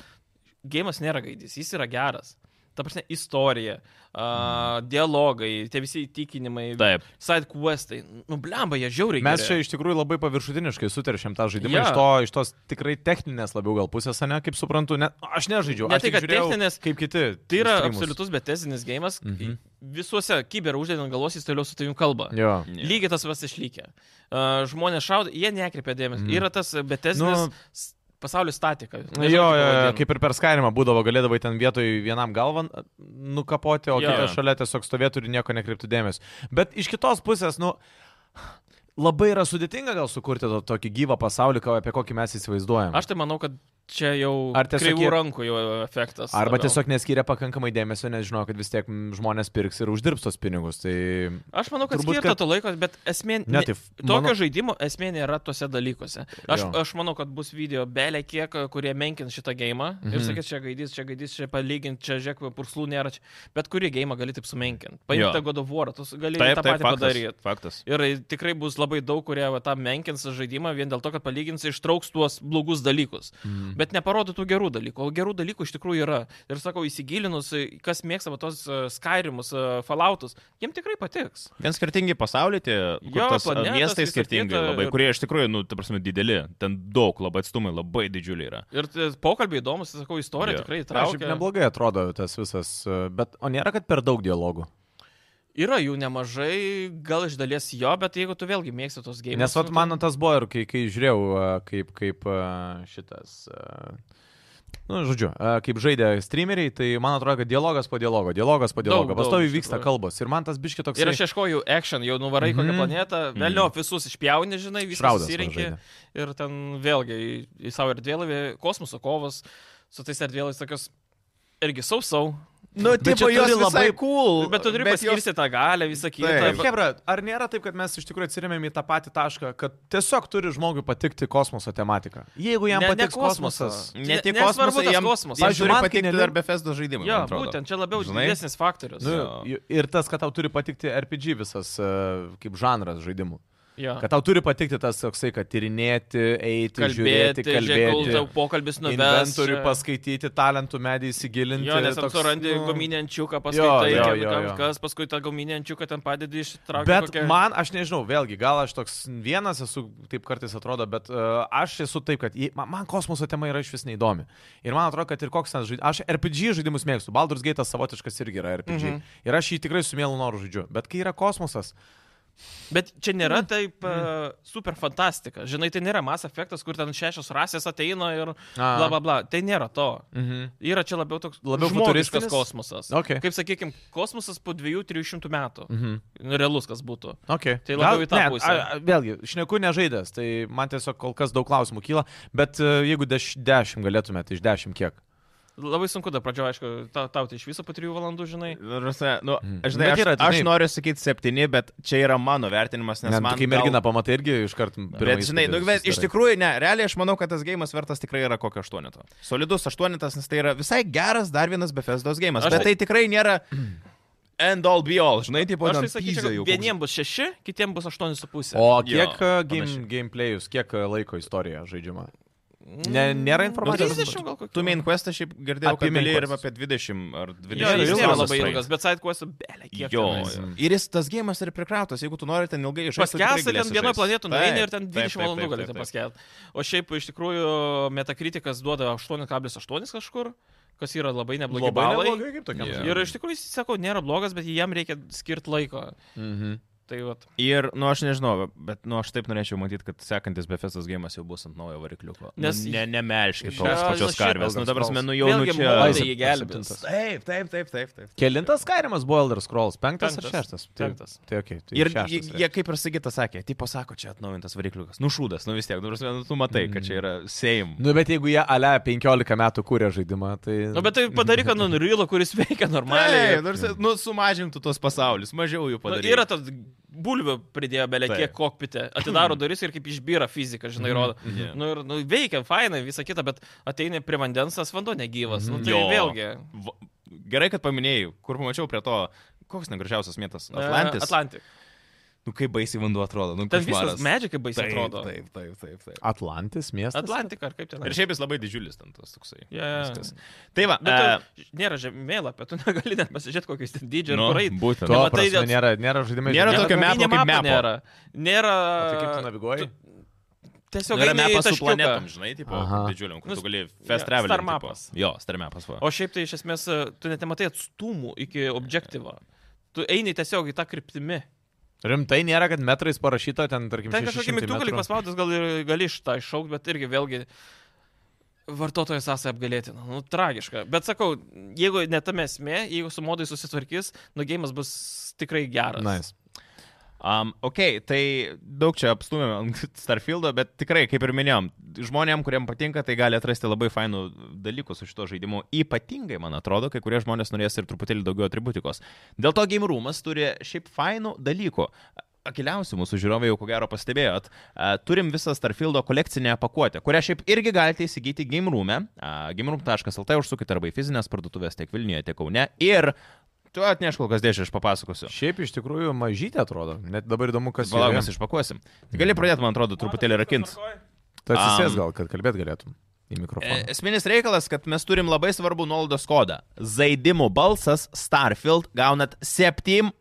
Gėjimas nėra gaidys, jis yra geras. Ta prasme, istorija, uh, Mhm. dialogai, tie visi įtikinimai, taip. side questai. Nu, blemba, jie žiauriai. Mes čia geri. iš tikrųjų labai paviršutiniškai suteršėm tą žaidimą. Jo. Iš, to, iš tos tikrai techninės labiau gal pusės, ne, kaip suprantu. Ne, aš nežaidžiu. Ne aš tai, tik kad žiūrėjau, techninės- Kaip kiti. Tai yra streamus. absoliutus betezinis gėjimas. Mhm. Mm -hmm. Visuose kiber uždedant galos jis toliau su tavim kalba. Jo. Ne. Lygiai tas vas išlykė. Uh, žmonės šaudo, jie nekreipia dėmesio. Mhm. Mm. Yra tas betezinis Nu. nu, pasaulio statika. tai Jo, jo, jo, kaip ir per skarimą būdavo, galėdavai ten vietoj vienam galvą nukapoti, o Jo. kitas šalia tiesiog stovėtų ir nieko nekreiptų dėmesio. Bet iš kitos pusės, nu, labai yra sudėtinga gal sukurti to, tokį gyvą pasaulį, ką- apie kokį mes įsivaizduojam. Aš tai manau, kad čia jau Ar tiesiog kreivų jie- rankų jau efektas. Arba labiau. tiesiog neskiria pakankamai dėmesio, nes žino, kad vis tiek mm, žmonės pirks ir uždirbs tos pinigus. Tai... Aš manau, kad turbūt, skirta kad- to laiko, bet esmė... Ne, tai f- Tokio mano- mano... žaidimo esmė nėra tuose dalykuose. Aš, Jo. aš manau, kad bus video belė kiek, kurie menkins šitą gėjimą mm -hmm. ir Mhm. sakys, čia gaidys, čia gaidys, čia palyginti, čia žek, purslų nėra, čia. bet kurį gėjimą gali taip sumenkinti. Jo. Paimta godovorą, tu gali Taip, tą taip, patį faktas. padaryti. faktas. Ir tikrai bus labai daug, kurie va, tą menkins žaidimą vien dėl to, kad palygins ištrauks tuos blogus dalykus. Mm. Bet neparodo tų gerų dalykų, o gerų dalykų iš tikrųjų yra. Ir sakau, įsigilinus, į- kas mėgsta va tos e, Skyrimus, e, Falloutus, jiem tikrai patiks. Vien skirtingi pasauliai, tie kur Jo, tas, a, planetos, miestai visa skirtingi, kita labai, ir- kurie iš tikrųjų, nu, ta prasme, dideli, ten daug, labai atstumai, labai didžiuliai yra. Ir t- pokalbiai įdomus, sakau, istorija Jo. tikrai Aš traukia. neblogai atrodo tas visas, e, bet o nėra, kad per daug dialogų. Yra jų nemažai, gal iš dalies jo, bet jeigu tu vėlgi mėgsti tos gėjimus. nu, tai Nes vat, man tas buvo ir kai, kai žiūrėjau, a, kaip, kaip a, šitas... a, Nu, žodžiu, a, kaip žaidė streameriai, tai man atrodo, kad dialogas po dialogo, dialogas po Daug, dialogo, daug, pastovi iš vyksta tikrųjų. kalbos. Ir man tas biški toks... Ir aš ieškojau action, jau nuvarai mm -hmm. kokią Mhm. planetą, vėliau mm -hmm. visus išpjauni, žinai, viską Šraudas man susirinki. žaidė. Ir ten vėlgi į, į savo erdvėlavį, kosmoso kovos, su tais erdvėlavais tokios irgi sausau. Nu, Bet tipo, čia jos turi visai labai- cool. Bet tu turi paskirti jos... tą galę, visą Taip, kitą. Hebra, ar nėra taip, kad mes iš tikrųjų atsirėmėm į tą patį tašką, kad tiesiog turi žmogui patikti kosmoso tematika? Jeigu jam Ne- ne patiks kosmosas. kosmosas. Ne tik Nesvarbu kosmosas, tas jam, kosmosas. Jam Pavyzdžiui, turi man kai patikti neliu- dar be Festo žaidimą. Jo, būtent čia labiau Žinai? didesnis faktorius. Nu, Nu, Jo. ir tas, kad tau turi patikti RPG visas e, kaip žanras žaidimų. jo. Kad tau turi patikti tas toksai, kad tyrinėti, eiti, kalbėti, Kalbėti, žiūrėti, žiūrėk, kol tau kalbėti. pokalbis nuves. Inventorių paskaityti, talentų medį įsigilinti. Jo, nes toks, toks, surandi nu... nu, gominenčiuką, paskaitai, jo, jo, jo, jo, jo. jo. kas, paskui tą gominenčiuką ten padedi ištraukti. Bet kokią... kokia... man, aš nežinau, vėlgi, gal aš toks vienas esu, taip kartais atrodo, bet uh, aš esu taip, kad jei, man, man kosmoso tema yra iš vis neįdomi. Ir man atrodo, kad ir koks ten žaidimas, aš RPG žaidimus mėgstu, Baldur's Gate savotiškas irgi yra RPG. Mm Mhm. -hmm. Ir aš jį tikrai su mielu noru žaidžiu. Bet kai yra kosmosas, Bet čia nėra taip mm. super fantastika. Žinai, tai nėra mas efektas, kur ten šešios rasės ateina ir A. bla bla bla. Tai nėra to. mhm. Yra čia labiau toks Labiau žmogiškas futuristinis? kosmosas. Okei. Kaip sakykime, kosmosas po 2-300 metų. Mhm. Nu, Realus kas būtų. Okay. Tai labiau į tą pusę. A, a, vėlgi, šneku nežaidęs, tai man tiesiog kol kas daug klausimų kyla, bet uh, jeigu deš, dešimt galėtumėte, iš dešimt kiek? Labai sunku dar pradžioje, aišku, ta- tau tai iš viso po 3 valandų, žinai. Rasa, nu, Mm. aš, žinai, Bet aš, yra, aš žinai- noriu sakyti septyni, bet čia yra mano vertinimas, nes Nes man... man, kai gal- merginą pamatai irgi iš karto. Bet žinai, nu, bet iš tikrųjų, ne, realiai aš manau, kad tas gėjimas vertas tikrai yra kokio aštuoneto. Solidus aštuonetas, nes tai yra visai geras dar vienas Befesdos gėjimas. Aš Bet tai- tai tikrai nėra end all be all, žinai, tipo, Aš tai ten sakyčiau, pyzė jau kad koks- vieniems bus 6, kitiems bus 8,5. O Jo, kiek jo, game, panašiai. gameplayus, kiek uh, laiko istorija žaidžiama? Ne, nėra Nu, informacijos. 30 gal kokių. Tu main questą šiaip girdėjau, Apie kad main gali ir quest. apie 20 ar Jo, 20. jis Ilgas nėra tas labai praeina. ilgas, bet sidequest belė kiek. Jo, tenais. tenais. ir jis tas gėjimas yra prikrautas, jeigu tu nori ten ilgai žaisti. tu tikrai Paskęsti ten galėsi vienoje žaist. planetoje, nueini ir ten Taip, 20 taip, valandų taip, galite taip, taip. paskęsti. O šiaip iš tikrųjų metakritikas duoda 8,8 kažkur, kas yra labai neblogi Labai balai. neblogai kaip tokiam. Jo. Ir iš tikrųjų, jis, sakau, nėra blogas, bet jam reikia skirti laiko. Mhm. Tai vat. Ir, nu, aš nežinau, bet, nu, aš taip norėčiau matyti, kad sekantis Befestas gėjimas jau bus ant naujo varikliuko. Nes- Nes ne, nemelškit tos Žinai, pačios šiaip karvės. gal Nu, dabar, kas nu, jau nu Vėlgi, čia. modai Laisvė jį gelbės. septintas. Taip, taip, taip, taip. taip. Kelintas Skyrimas buvo Elder Scrolls? Penktas ar Penktas. šeštas? Penktas. Tai, tai okay, tai Ir šeštas, jie, reiškia. jie kaip ir sakytas sakė, tipo sako, čia atnaujintas varikliukas. Nu šūdas, nu vis tiek, nu, prasme, nu, tu matai, kad čia yra Seim. Nu, bet jeigu jie ale 15 metų kūrė žaidimą, tai... Nu, Na, bet tai padaryk, kad nunrylo, kuris veikia normaliai. Maliai, nors, nu, sumažintų tos pasaulius, mažiau jų Nu, padarytų. yra tas bulvių pridėjo belė Taip. Mhm. kiek kokpite, atidaro duris ir kaip išbyra fizika, žinai, rodo. Jo. Nu ir nu, veikia, fainai, visa kita, bet ateini prie vandens, tas vanduo negyvas. Nu, tai Jo. vėlgi. Va- Gerai, kad paminėjai, kur pamačiau prie to, Koks negražiausias mėtas? E, Atlantis. Atlantik. Nu kaip baisiai vanduo atrodo. Nu, Ten košmaras. visas medžiai kaip baisiai Taip, atrodo. Taip, taip, taip, taip. Atlantis miestas. Atlantika ar kaip ten? Ir šiaip jis labai didžiulis ten tas toksai. Jo, jo, jo. viskas. Tai va, Bet tu, nėra žemėlapio, tu negali net pasižiūrėti, kokius ten dydžiai ir Nu, kur eit. būtent. To, Nematai prasme, dėl- nėra, nėra žaidime. Nėra tokio mepo kaip minimapo mepo. nu tai Nėra. nėra Tai kaip tu naviguoji? Tiesiog Yra eini į mepas su taškiuką. planetom, žinai, tipo, Aha. didžiuliam, kur Nu, tu gali jo, fast travel. star mapas. Jo, star mapas. Va. O šiaip tai iš esmės e, tu net nematai atstumų iki objektyvo. Tu eini tiesiog į tą kryptimį. Rimtai nėra, kad metrais parašyta ten, tarkim, Ten kažkokį 600 mygtuką gali metrų. paspaudęs, gal ir gali iš tą iššaukti, bet irgi vėlgi vartotojo sąsai apgalėtina. Nu, tragiška. Bet sakau, jeigu netame esmė, jeigu su modai susitvarkys, nugėjimas bus tikrai geras. Nice. Um, ok, tai daug čia apstumėm ant Starfieldo, bet tikrai, kaip ir minėjom, žmonėm, kuriem patinka, tai gali atrasti labai fainų dalykų su šito žaidimu. Ypatingai, man atrodo, kai kurie žmonės norės ir truputėlį daugiau atributikos. Dėl to Game Roomas turi šiaip fainų dalykų. Akiliausi mūsų žiūrovai jau ko gero pastebėjot, a, turim visą Starfieldo kolekcinę pakuotę, kurią šiaip irgi galite įsigyti Game Room'e, a, gameroom.lt užsukite arba į fizinės parduotuvės tiek Vilniuje, tiek Kaune ir tu atneš kol kas dėžę, aš papasakosiu. Šiaip iš tikrųjų mažytė atrodo. Net dabar įdomu, kas Palauk, joje. mes išpakuosim. Tai gali pradėti, man atrodo, truputėlį rakint. Tu atsisės Am. gal, kad kalbėt galėtum į E, mikrofoną. Esminis reikalas, kad mes turim labai svarbų nuolaidos kodą. Žaidimų balsas Starfield gaunat 7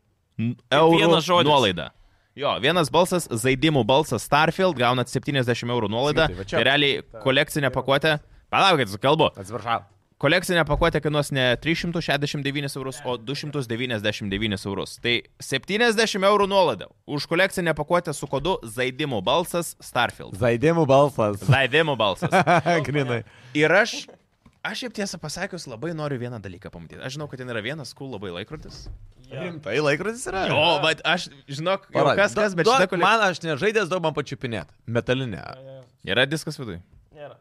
eurų Vienas žodis. nuolaidą. Jo, vienas balsas, žaidimų balsas Starfield, gaunat 70 eurų nuolaidą. Smitai, va čia. Tai realiai kolekcinę pakuotę. Palaukit, su kalbu. Atsiprašau. Kolekcinė pakuotė kainuos ne 369 eurus, o 299 eurus. Tai 70 eurų nuolaida už kolekcinę pakuotę su kodu žaidimų balsas Starfield. Zaidėmų balsas. Žaidimų balsas. Grinai. Ir aš, aš šiaip tiesą pasakius, labai noriu vieną dalyką pamatyti. Aš žinau, kad ten yra vienas cool labai laikrodis. Rimtai laikrodis yra. O, bet aš, žinok, jau Parodyk. kas kas, bet Duok šitą kolekciją. Nu, Man aš nežaidęs, daug man pačiupinėt. Metalinė. Yra diskas viduje. Nėra.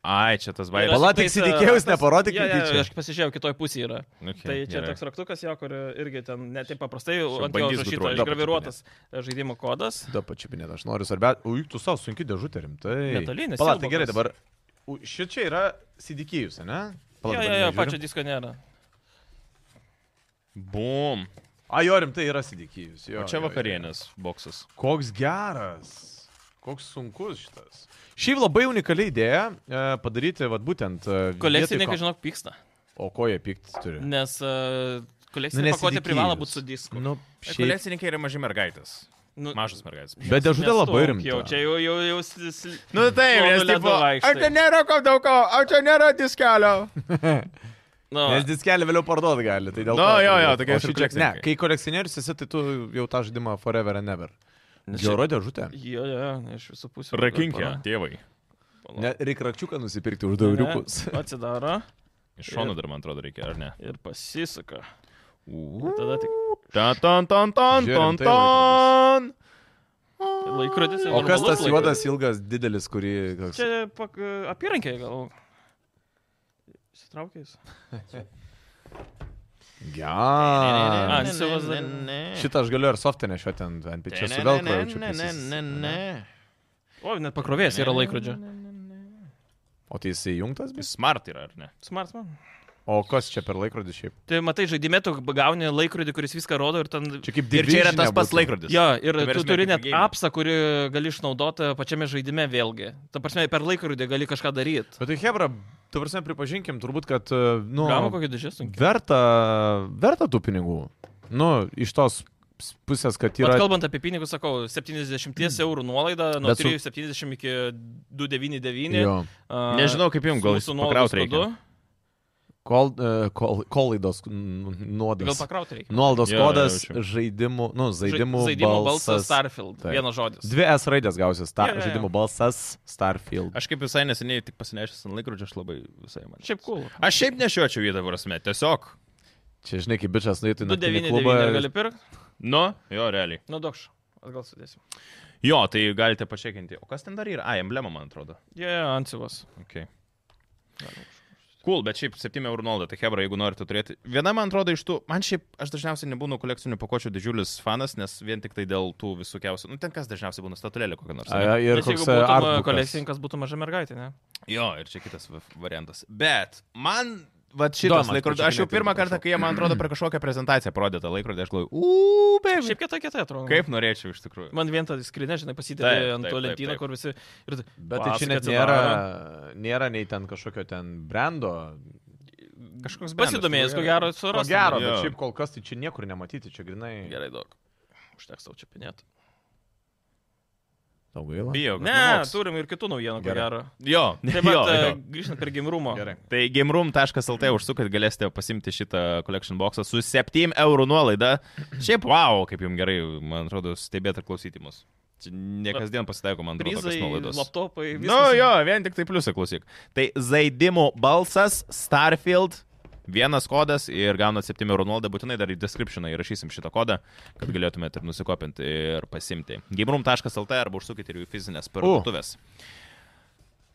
Ai, čia tas Ir Yra vairas. Pala, aš tik tiktais, e, įsitikėjus, tas- neparodyk tai jo, jo, jo, netyčia. Aš pasižiūrėjau, kitoj pusėje yra. Okay, Tai čia toks raktukas jo, kur irgi ten net taip paprastai Čia ant jo bandys užrašyta gudruolė. išgraviruotas e, žaidimo kodas. Da pačiupinėt, aš noriu svarbiausia. Ui, tu savo sunki dėžutė rimtai. Metalinis, Pala, tai siaubo gerai kas. dabar. U, Šit čia yra sidikėjus, ne? Jo, jo, jo, pačio disko nėra. Bum. A, jo, rimtai yra sidikėjus. O čia vakarienės boksas. Koks geras, koks sunkus šitas. Šiaip labai unikali idėja e, padaryti, vad būtent. e, Kolekcininkai, vietoj ko- žinok, pyksta, O ko jie piktis turi? nes uh, Nu, kolekcininkai nes pakuotė įdikėjus. privalo būti su disku. E, Nu, šiaip. Kolekcininkai yra maži mergaitės. Nu, Mažas mergaitės. Bet dėžutė labai nestumk Jau rimta. čia jau, jau, jau sl... Nu taip, Plonu nes ledu tipo, vaikštai. ar čia nėra ko daug ko, ar čia nėra diskelio. nu, Nes diskelį vėliau parduoti gali, tai dėl Nu, to. jo, jo, O tokie ir šičia- kolekcininkai. Ne, kai kolekcionierius esi, tai tu jau tą žaidimą forever and ever. Nes Žiauro dėžutė. Jo, jo, jo, iš visų pusių. Rakinkė, tėvai. Ne, reikia rakčiuką nusipirkti už dauriukus. Atsidaro Iš šono dar, man atrodo, reikia, ar ne? ir pasisuka. Uuu. Tada tik Tan, tan, tan, tan, Žiūrim, tan, tai tan. laikrodis. O kas tas normalus juodas ilgas didelis, kurį... laikrodis. koks- Čia pak, apyrankė gal. Sitraukės. Geras. A, siuvas dar- Šitą aš galiu ir softinę šio ten, ant čia su velkro jaučiu. prisis- O, net pakrovės yra laikrodžio. O tai jisai jungtas? Jis Smart yra, ar ne? Smart man. O kas čia per laikrodį šiaip? Tai matai, žaidime tu gauni laikrodį, kuris viską rodo ir ten... Čia kaip Ir čia yra Divisione tas pats būtų. laikrodis. Jo, ir Ta tu prasme, turi kaip net ir game. apsa, kurį gali išnaudoti pačiame žaidime vėlgi. Ta prasme, per laikrodį gali kažką daryti. Bet tai Hebra, tu prasme, pripažinkim turbūt, kad, e, nu, Gavo kokį didžią sunkį. verta, verta tų pinigų. Nu, iš tos s- pusės, kad Yra... yra... Bet kalbant apie pinigus, sakau, 70 eurų nuolaida, nuo Bet su- 370 iki 299. Jo. a, Nežinau, kaip jums, su gal mūsų jis nuolaidos pakraut reikia. kodu. Kol, e, kol, kol laidos nuodas. Gal pakraut reikia. Nuoldos Jo, kodas, jaučiu. žaidimų, nu, Ža- žaidimų, žaidimo balsas Starfield. Taip. Vienas žodis. Dvi S raidės gausi, star, Jo, jo, jo. žaidimų balsas Starfield. Aš kaip visai neseniai tik pasinešęs ant laikrodžio, aš labai visai man. Šiaip cool. Aš šiaip nešiočiau jį dabar, prasme, tiesiog. Čia, žinai, kaip bičias nuėtų į naktinį 299 klubą. ir gali pirkti. Nu, jo, realiai. Nu, dokš. Gal sudėsim. Jo, tai galite pašiekinti. O kas ten dar yra? A, emblema, man atrodo. Jie, yeah, Antsivas. Okay. Cool, bet šiaip 7 eurų nuolaida, tai Hebra, jeigu norite turėti. Viena, man atrodo, iš tų, man šiaip, aš dažniausiai nebūnu kolekcinių pakuočių didžiulis fanas, nes vien tik tai dėl tų visokiausių, nu ten kas dažniausiai būna statulėlė kokia nors. A, ane? Ir Nes jeigu koks e, būtum e, artbukas. kolekcininkas, būtų maža mergaitė, ne? Jo, ir čia kitas va- variantas. Bet man Vat šitas Domas laikrodis. Aš jau pačiupinėti pirmą irgi kartą, prašau. kai jie, man atrodo, per kažkokią prezentaciją parodė tą laikrodį, aš galvoju, uuu, beveik. Šiaip kietai, kietai atrodo. Kaip norėčiau iš tikrųjų. Man vien tas skrinė, žinai, Taip, pasidėjo ant taip, to taip, lentyną, taip. kur visi... Ir... Bet tai čia net Pasaką nėra, atsidaro. nėra nei ten kažkokio ten brendo. Kažkoks brandas, Pasidomėjęs, ko turbūt gero, Ko suras. gero, jo. bet šiaip kol kas tai čia niekur nematyti, čia grinai. Gerai, daug. Užteks tau čia pinėti. Tau gaila. Bijau, kad Ne, nuvoks. turim ir kitų naujienų, ko Gerai. gero. Jo, Taip jo, pat, jo. e, grįžtant prie gimrumo. Gerai. Tai gameroom.lt užsukat, galėsite pasimti šitą collection boxą su 7 eurų nuolaida. Šiaip, wow, kaip jums gerai, man atrodo, stebėti ir klausyti mus. Čia Ne kasdien pasitaiko, man atrodo, Prizai, tokios nuolaidos. laptopai, Nu viskas. jo, vien tik tai pliusą klausyk. Tai žaidimų balsas Starfield. Vienas kodas ir gaunat 7 eurų nuolaidą, būtinai dar į descriptioną įrašysim šitą kodą, kad galėtumėte ir nusikopinti ir pasimti. gameroom.lt arba užsukit ir jų fizinės parduotuvės.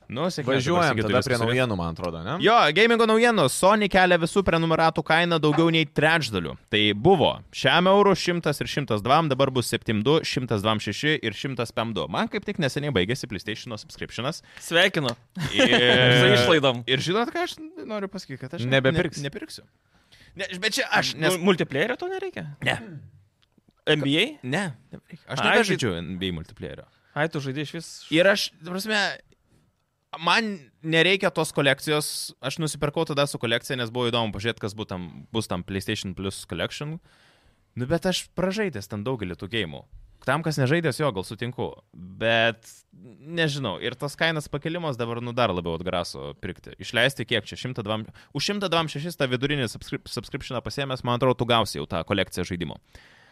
Nu, sėkmės. dabar, Važiuojam Sigitai, tada viską prie surinkt. naujienų, man atrodo, ne? Jo, gamingo naujienos. Sony kelia visų prenumeratų kainą daugiau nei trečdaliu. Tai buvo šiam eurų 100 ir 102, dabar bus 72, 126 ir 152. Man kaip tik neseniai baigėsi PlayStation subscriptionas. Sveikinu. Visą Ir, išlaidom. ir žinot, ką aš noriu pasakyti, kad aš Nebepirksi. Ne, nepirksiu. Ne, bet čia aš. Nes... Nes... Multiplayerio to nereikia? Ne. NBA? Ne, nebereikia. aš Ai, tai- nebežaidžiu NBA multiplayerio. Ai, tu žaidai iš vis. Ir aš, ta prasme, man nereikia tos kolekcijos, aš nusipirkau tada su kolekcija, nes buvo įdomu pažiūrėti, kas bus tam, bus tam PlayStation Plus collection. Nu, bet aš pražaidęs ten daugelį tų gėjimų. Tam, kas nežaidęs jo, gal sutinku. Bet nežinau. Ir tas kainos pakelimas dabar, nu, dar labiau atgraso pirkti. Išleisti kiek čia? 102. Už 126 tą vidurinį subscrip- subscriptioną pasiemęs, man atrodo, tu gausi jau tą kolekciją žaidimų.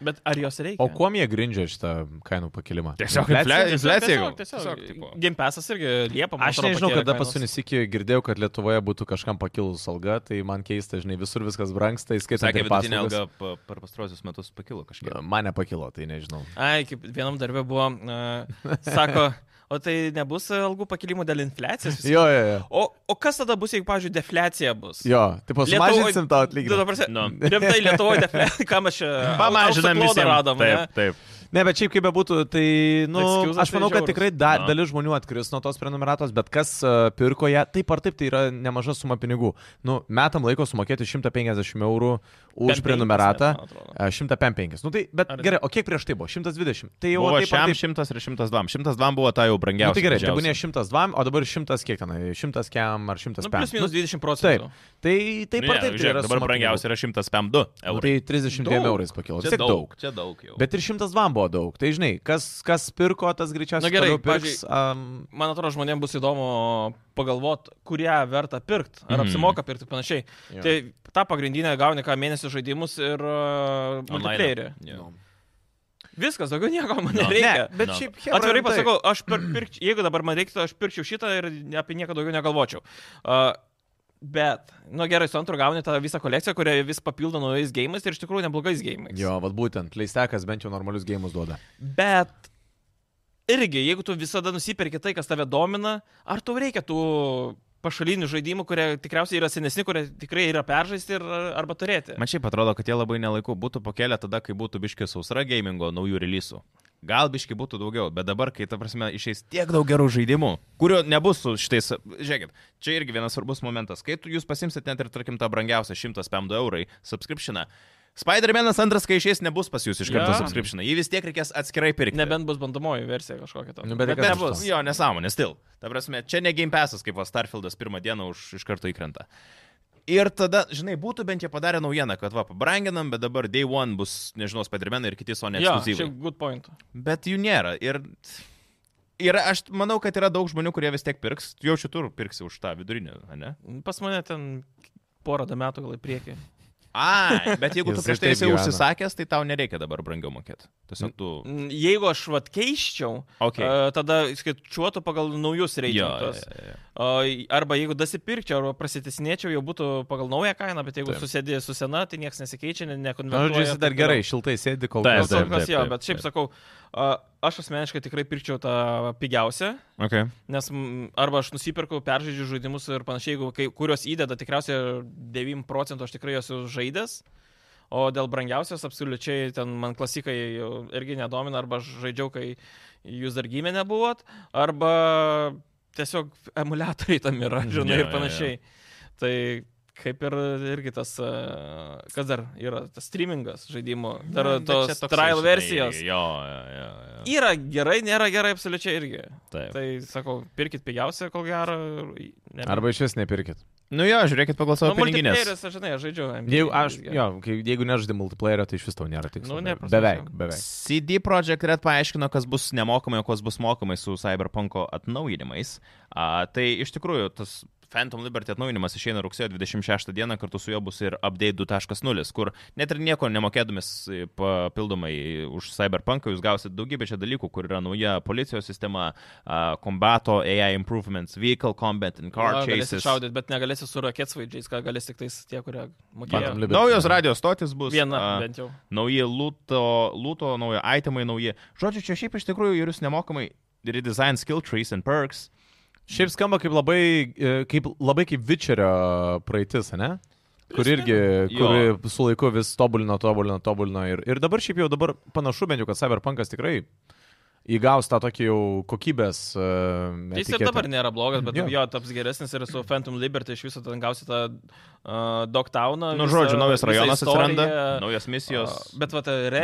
Bet ar jos reikia? O kuom jie grindžia šitą kainų pakilimą? Tiesiog Infliacija? inflia- E, infliacija. gal? Tiesiog, tiesiog, tipo. tiesiog Game Passas irgi Liepą. man Aš atrodo, nežinau, pakėlė kada kainas. paskutinį sėkį girdėjau, kad Lietuvoje būtų kažkam pakilus alga, tai man keista, žinai, visur viskas brangsta, įskaitant Sakė, ir vidutinė paslaugas. alga pa- per pastarosius metus pakilo kažkiek. Mane pakilo, tai nežinau. Ai, kaip vienam darbė buvo, uh, sako, o tai nebus algų pakilimų dėl infliacijos? visko? Jo, jo, jo. O, o kas tada bus, jeigu, pavyzdžiui, defliacija bus? Jo, tai pasumažinsim tau atlyginimą. Nu. atlyginimą. Rimtai, Lietuvoje defliacija, ką mes čia Pamažinam aukso visiem. klodą radom. ne? Taip, taip. Ne, bet šiaip kaip bebūtų, tai, nu, Excuse-as aš manau, kad tai žiaurus. tikrai da, Na. dalis žmonių atkris nuo tos prenumeratos, bet kas uh, pirko ją, taip ar taip, tai yra nemaža suma pinigų. Nu, metam laiko sumokėti 150 eurų Bent už penkis, prenumeratą. net, nu. man atrodo. A, 105. Nu, tai, bet Ar- gerai, o kiek prieš tai buvo? 120. Tai jau Buvo taip ar šiam taip. 100 ir 102. 102 buvo ta jau Nu, brangiausia. tai gerai, tegu ne didžiausia. 102, o dabar 100 kiek ten, 100 kiam ar 105. Nu, plus minus 20 Taip, procentų. tai taip Nu, ar ne, taip. tai žiūrėk, yra dabar suma brangiausia yra 102 pinigų. Nu, eurų. Tai 32 Daug. eurais pakilo. Vis tiek Nu, daug. Čia daug jau. Bet Bet ir 102 buvo daug. Tai žinai, kas, kas pirko, tas greičiausiai Na gerai, toliau pirks. Um, Man atrodo, žmonėms bus įdomu pagalvoti, kurią verta pirkti, ar Mhm. apsimoka pirkti ir panašiai. Jo. Tai tą pagrindinę gauni ką mėnesį žaidimus ir uh, multiplayerį. nu. Viskas, daugiau nieko man No. nereikia. Ne, bet Na. šiaip chebra Atvirai rimtai. pasakau, aš per, pirkč, jeigu dabar man reiktų, aš pirkčiau šitą ir apie nieką daugiau negalvočiau. Uh, bet, nu gerai, su antru gauni tą visą kolekciją, kurią vis papildo naujais gėjimais ir iš tikrųjų neblogais gėjimais. Jo, vad būtent, leistekas bent jau normalius gėjimus duoda. Bet irgi, jeigu tu visada nusiperki tai, kas tave domina, ar tau reikia tų pašalinių žaidimų, kurie tikriausiai yra senesni, kurie tikrai yra peržaisti ir, arba turėti? man šiaip atrodo, kad jie labai nelaiku būtų pakėlę tada, kai būtų biški sausra gamingo naujų releasų. Gal biški būtų daugiau, bet dabar, kai, ta prasme, išeis tiek daug gerų žaidimų, kurio nebus su šitais... Žiūrėkit, čia irgi vienas svarbus momentas. Kai tu- jūs pasimsit net ir, tarkim, tą brangiausią 105 eurai subscriptioną, Spider-Man'as antras, kai išeis, nebus pas jūs iš karto Jo. yeah. subscriptioną. Jį vis tiek reikės atskirai pirkti. Nebent bus bandomoji versija kažkokia to. Nu, bet Bet kas iš nebus. to? Jo, nesąmonė, stil. Ta prasme, čia ne Game Passas, kaip va Starfieldas pirmą dieną už, iš karto įkrenta. Ir tada, žinai, būtų bent jie padarę naujieną, kad va, pabranginam, bet dabar Day One bus, nežinau, Spider-Man ir kiti Sony Jo, čia ekskluzyvai. good point. Bet jų nėra. Ir, ir aš manau, kad yra daug žmonių, kurie vis tiek pirks. Jau šitur pirksi už tą vidurinį, ne? Pas mane ten porą da metų gal į priekį. A, bet jeigu tu Jisai prieš tai taip esi gyvena. užsisakęs, tai tau nereikia dabar brangiau mokėti. Tiesiog tu... Mm, Jeigu aš vat keiščiau, Okay. okay. tada skaičiuotų pagal naujus Jo, reitingus. jo, jo, jo. Arba jeigu dasipirkčiau, arba prasitesnėčiau, jau būtų pagal naują kainą, bet jeigu Taip. susidė su sena, tai niekas nesikeičia, ne- Na, nekonvertuoja. Nu, žodžiu, jis ir dar taip gerai, šiltai sėdi, kol Taip, toliau. kas. Kol taip. kas jo, bet taip. šiaip sakau, a, aš asmeniškai tikrai pirkčiau tą pigiausią, Okay. nes mm, arba aš nusipirku, peržaidžiu žaidimus ir panašiai, jeigu kai, kurios įdeda, tikriausiai 9 procentų aš tikrai jos jau žaidęs, o dėl brangiausios absoliučiai ten man klasikai jau irgi nedomina, arba aš žaidžiau, kai jūs dar gimė nebuvot, arba tiesiog emulatoriai tam yra, žinai, Mm, Jo, ir panašiai. Tai Kaip ir irgi tas, a, kas dar yra, tas streamingas žaidimo, dar Bet tos čia toksai, trial žinai, versijos. Jo, jo, jo. jo. Yra gerai, nėra gerai absoliučiai irgi. Taip. Tai sakau, pirkit pigiausią, kol gero. ir- ne- Arba iš vis nepirkit. Nu jo, žiūrėkit pagal nu, savo piniginės. multiplayeris, aš žinai, aš žaidžiu. NBA Jeigu, aš, irgi. jo, kai- jeigu nežaidži multiplayerio, tai iš vis tau nėra tikslo. Nu, ne, prasme, beveik, čia- beveik. CD Projekt Red paaiškino, kas bus nemokamai, o kas bus mokamai su Cyberpunk'o atnaujinimais. A, tai iš tikrųjų, tas Phantom Liberty atnaujinimas išeina rugsėjo 26 dieną, kartu su juo bus ir Update 2.0, kur net ir nieko nemokėdamis e, papildomai už Cyberpunk'ą jūs gausit daugybę čia dalykų, kur yra nauja policijos sistema, a, kombato AI improvements, vehicle combat and car Jo, Galėsi chases. šaudyti, bet negalėsi su raketsvaidžiais, ką galės tik tais tie, kurie Phantom mokėjo. Liberty. Naujos radijos stotis bus. Viena a, bent jau. nauji lūto, lūto nauji itemai, nauji. Žodžiu, čia šiaip iš tikrųjų ir jūs nemokamai redesign skill trees and perks. Šiaip skamba kaip labai, e, kaip, labai kaip Witcherio praeitis, ne? Kur irgi, Jo. kur su laiku vis tobulino, tobulino, tobulino. Ir, ir dabar šiaip jau dabar panašu bent jau, kad Cyberpunkas tikrai įgaus tą tokį jau kokybės. e, Tai Jis jis ir dabar nėra blogas, bet Jo. jo, taps geresnis ir su Phantom Liberty iš viso ten gausi tą uh, Dogtowną. Nu, visą- žodžiu, naujas visą rajonas atsiranda, istoriją. naujos misijos. A, Bet va, ta re,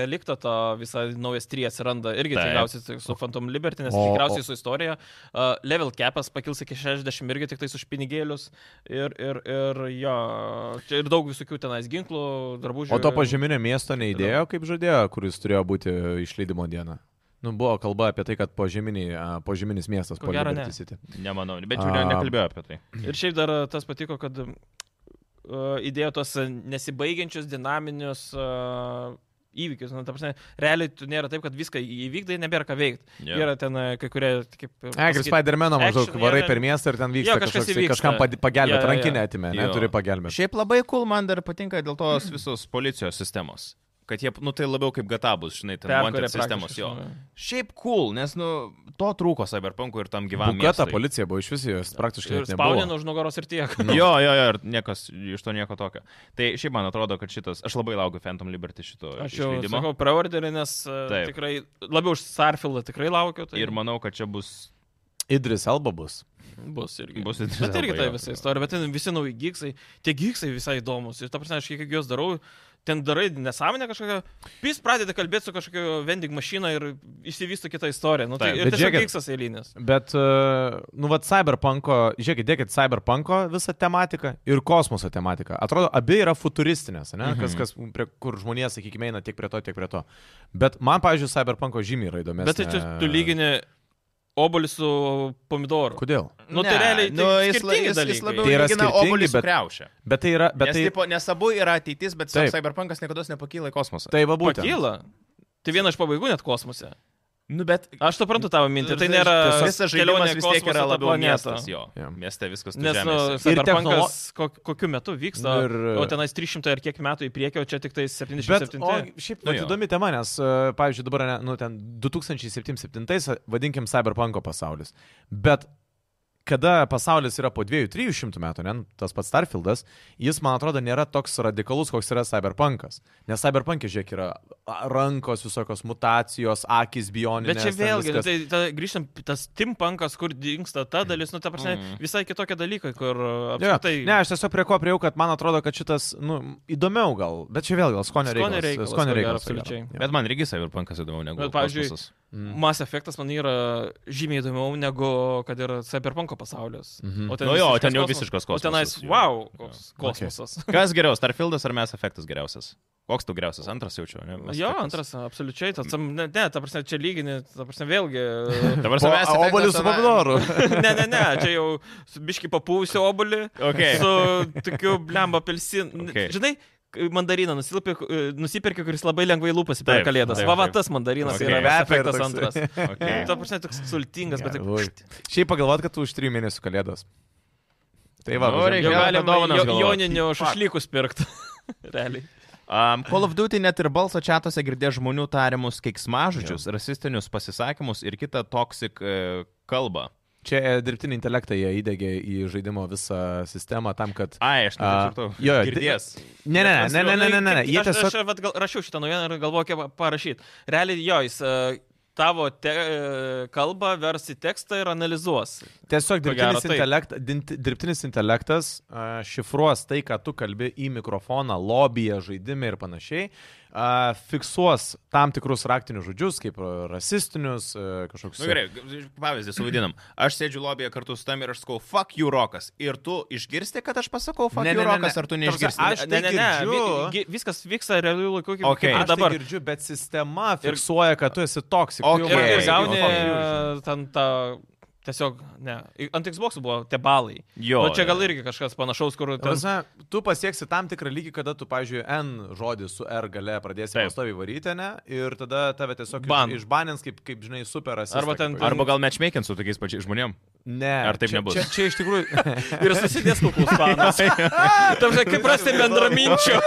relikto to visą naujas trį atsiranda irgi Taip. tikriausiai tik su Phantom Liberty, nes O- tikriausiai su istorija. Uh, level capas pakils iki 60 irgi tik tais už pinigėlius. Ir, ir, ir jo, čia ir daug visokių tenais ginklų, drabužių. O to pažeminio miesto neįdėjo, kaip žadėjo, kuris turėjo būti išleidimo diena. Nu, buvo kalba apie tai, kad požeminiai, a, požeminis miestas Ko gero, Liberty ne. City. Nemanau, bet jau ne- A. nekalbėjau apie tai. Ir šiaip dar e, tas patiko, kad e, įdėjo tos e, nesibaigiančius dinaminius e, įvykius. Na, ta prasme, realiai tu nėra taip, kad viską įvykdai, nebėra ką veikti. Jo. Yeah. Yra ten e, kai kurie, kaip... Ne, e, kaip pasakyt- Spider-Man maždaug action varai yra- per miestą ir ten vyksta Jo, kažkas kažkoks, tai įvyksta. kažkam pad- pagelbėt, Jo, jo, jo. rankinę atimė, Jo. neturi pagelbėti. Šiaip labai cool man dar patinka dėl tos visos policijos sistemos. Kad jie, nu tai labiau kaip gatabus, žinai, ten Perkuria wanted praktiškai sistemos jo. iš naujo. Šiaip cool, nes, nu, to trūko Cyberpunk'ui ir tam gyvam. Buketa miestui. policija buvo iš vis jos praktiškai Ir nu- net nebuvo. spaudinu už nugaros ir tiek. Nu, Jo, jo, jo, ir niekas iš to nieko tokio. Tai šiaip man atrodo, kad šitas, aš labai laukiu Phantom Liberty šito Aš jau išleidimo. sakau, preorderį, nes e, Taip. tikrai labiau už Starfieldą tikrai laukiu. Tai Ir manau, kad čia bus. Idris Elba bus. bus irgi. bus Bet irgi labai tai jo. visai istorija, bet ten visi nauji gigsai, tie gigsai visai įdomus. Ir ta prasme, aš kiek juos darau, ten darai nesąmonę kažkokią, vis pradedi kalbėti su kažkokia vending mašina ir išsivysto kita istorija. Nu, tai Taip. ir Bet tiesiog žiūrėkit. gigsas eilinis. Bet, e, nu, vad, Cyberpunko, žiūrėkit, dėkit Cyberpunko visą tematiką ir kosmoso tematiką. Atrodo, abi yra futuristinės, ne? Kas, kas, prie, kur žmonės, sakykime, eina tiek prie to, tiek prie to. Bet man, pavyzdžiui, Cyberpunko žymiai yra įdomesnė. Bet tai čia tu lygini obolį su pomidoru. Kodėl? Nu, tai Ne, realiai tai nu, jis, skirtingi jis, jis dalykai. labiau Tai yra lygina skirtingi, obuolį su bet- kriaušė. Bet tai yra, bet Nes, tai... tipo, nes abu yra ateitis, bet Taip. Cyberpunkas niekada nepakyla į kosmosą. Tai va būtent. Pakyla. Tai viena iš pabaigų net kosmose. Nu, bet Aš suprantu tavo mintį, tai Ir nėra Visas žaidimas vis tiek yra labiau miestas. Jo. Jo. Mieste viskas tai Nes, nu, žemės. Ir Cyberpunkas kok, kokiu metu vyksta, Ir, ir, e, o tenais 300 ar kiek metų į priekį, o čia tik tai 77. Bet, o šiaip, nu, Nu jo. įdomi tema, nes, e, pavyzdžiui, dabar, ne, nu, ten 2077, vadinkim, cyberpunko pasaulis. Bet kada pasaulis yra po 200-300 metų, ne, nu, tas pats Starfieldas, jis, man atrodo, nėra toks radikalus, koks yra cyberpunkas. Nes cyberpunkė, žiūrėk, yra a, rankos visokios mutacijos, akis bioninės. Bet čia ten vėlgi, viskas. tai, ta, grįžtam, tas timpankas, kur dinksta ta dalis, nu, ta prasme, Mm. mm. visai kitokie dalykai, kur Jo, apskritai... ne, aš tiesiog prie ko priejau, kad man atrodo, kad šitas, nu, įdomiau gal, bet čia vėl gal skonio Skonio reikalas. reikalas, ko skonio gero, reikalas. ko gero. absoliučiai. Jo. Bet man irgi Cyberpunkas įdomiau negu. Bet, pavyzdžiui, kosmosas. Mm. Mass Effectas man yra žymiai įdomiau negu kad yra Cyberpunko pasaulis. Mhm. ten Nu jo, visiškas ten jau kosmosas. visiškas O tenais, kosmosas, jo. wow, koks Jo. kosmosas. Kas geriau, Starfieldas ar Mass Effectas geriausias? Koks tu geriausias? Antras jaučiu, ne? Mass Jo, Effectas. antras, absoliučiai, tas, ne, ne, ta prasme, čia lygini, ta prasme, vėlgi. Ta Po prasme, Mass Effectas Obuolius su tenai- papidoru. ne, ne, ne, čia jau su biški papūsiu obulį. Okay. Su tokiu blemba apelsinu. Okay. Okay. Žinai, k- mandariną nusilpi- e, nusipirki, kuris labai lengvai lūpasi per Taip, kalėdas. taip, Va, va, taip. tas mandarinas Okay. okay. yra Kvepia ir efektas toks- antras. Okay. Tuo prasme, toks sultingas, bet Galvoju. tik... Šiaip pagalvot, kad tu už 3 mėnesių kalėdos. Tai va, Nu, važiuojam. reikia- Jau Galima galima dovanas jo- galvot. joninių šašlykus pirkti. Realiai. Um, Call of Duty net ir balso čatose girdė žmonių tariamus keiksmažodžius, rasistinius pasisakymus ir kitą toksik e, kalbą. čia e, dirbtinį intelektą jie įdėgė į žaidimo visą sistemą tam, kad... Ai, aš A, nežinau. jo, jo, girdės. Ne, ne, ne, ne, ne, ne, ne, ne. nu, Kaip- jie Aš, tiesiog... aš vat, gal, rašiau šitą naujieną ir galvoju, kaip parašyti. Realiai jo, jis uh, tavo te, e, kalbą versi tekstą ir analizuos. Tiesiog Ko gero, dirbtinis, taip. intelekt, dinti- dirbtinis intelektas a, šifruos tai, ką tu kalbi į mikrofoną, lobbyje, žaidime ir panašiai, a, fiksuos tam tikrus raktinius žodžius, kaip a, rasistinius, a, kažkokius. Na nu, gerai, g- pavyzdį suvadinam. Aš sėdžiu lobbyje kartu su tam ir aš sakau, fuck you rokas. Ir tu išgirsti, kad aš pasakau, fuck Ne, you ne, ne, rokas, ne. ar tu Ta prasme, neišgirsti? aš tai girdžiu. vi- gi- viskas vyksta realių laikų, Okay. kaip, okay. kaip Aš ir dabar. dabar girdžiu, bet sistema fiksuoja, kad tu esi toks. Okay. Ir, ir Okei, gauni okei, e, ten tą... Tiesiog, ne. I- Ant Xbox buvo tie balai. Jo. O Nu, čia gal irgi kažkas panašaus, kur... Ten... Prasme, tu pasieksi tam tikrą lygį, kada tu, pavyzdžiui, N žodį su R gale pradėsi Taip. pastovi varyti, ne? Ir tada tave tiesiog Ban. iš, išbanins, kaip, kaip žinai, superas. Arba ten- Arba gal matchmaking su tokiais pačiais žmonėm. Ne. Ar taip čia, nebus? Čia, čia iš tikrųjų. Ir susidės kuklus panas. Tamsiai, kaip rasti bendraminčių.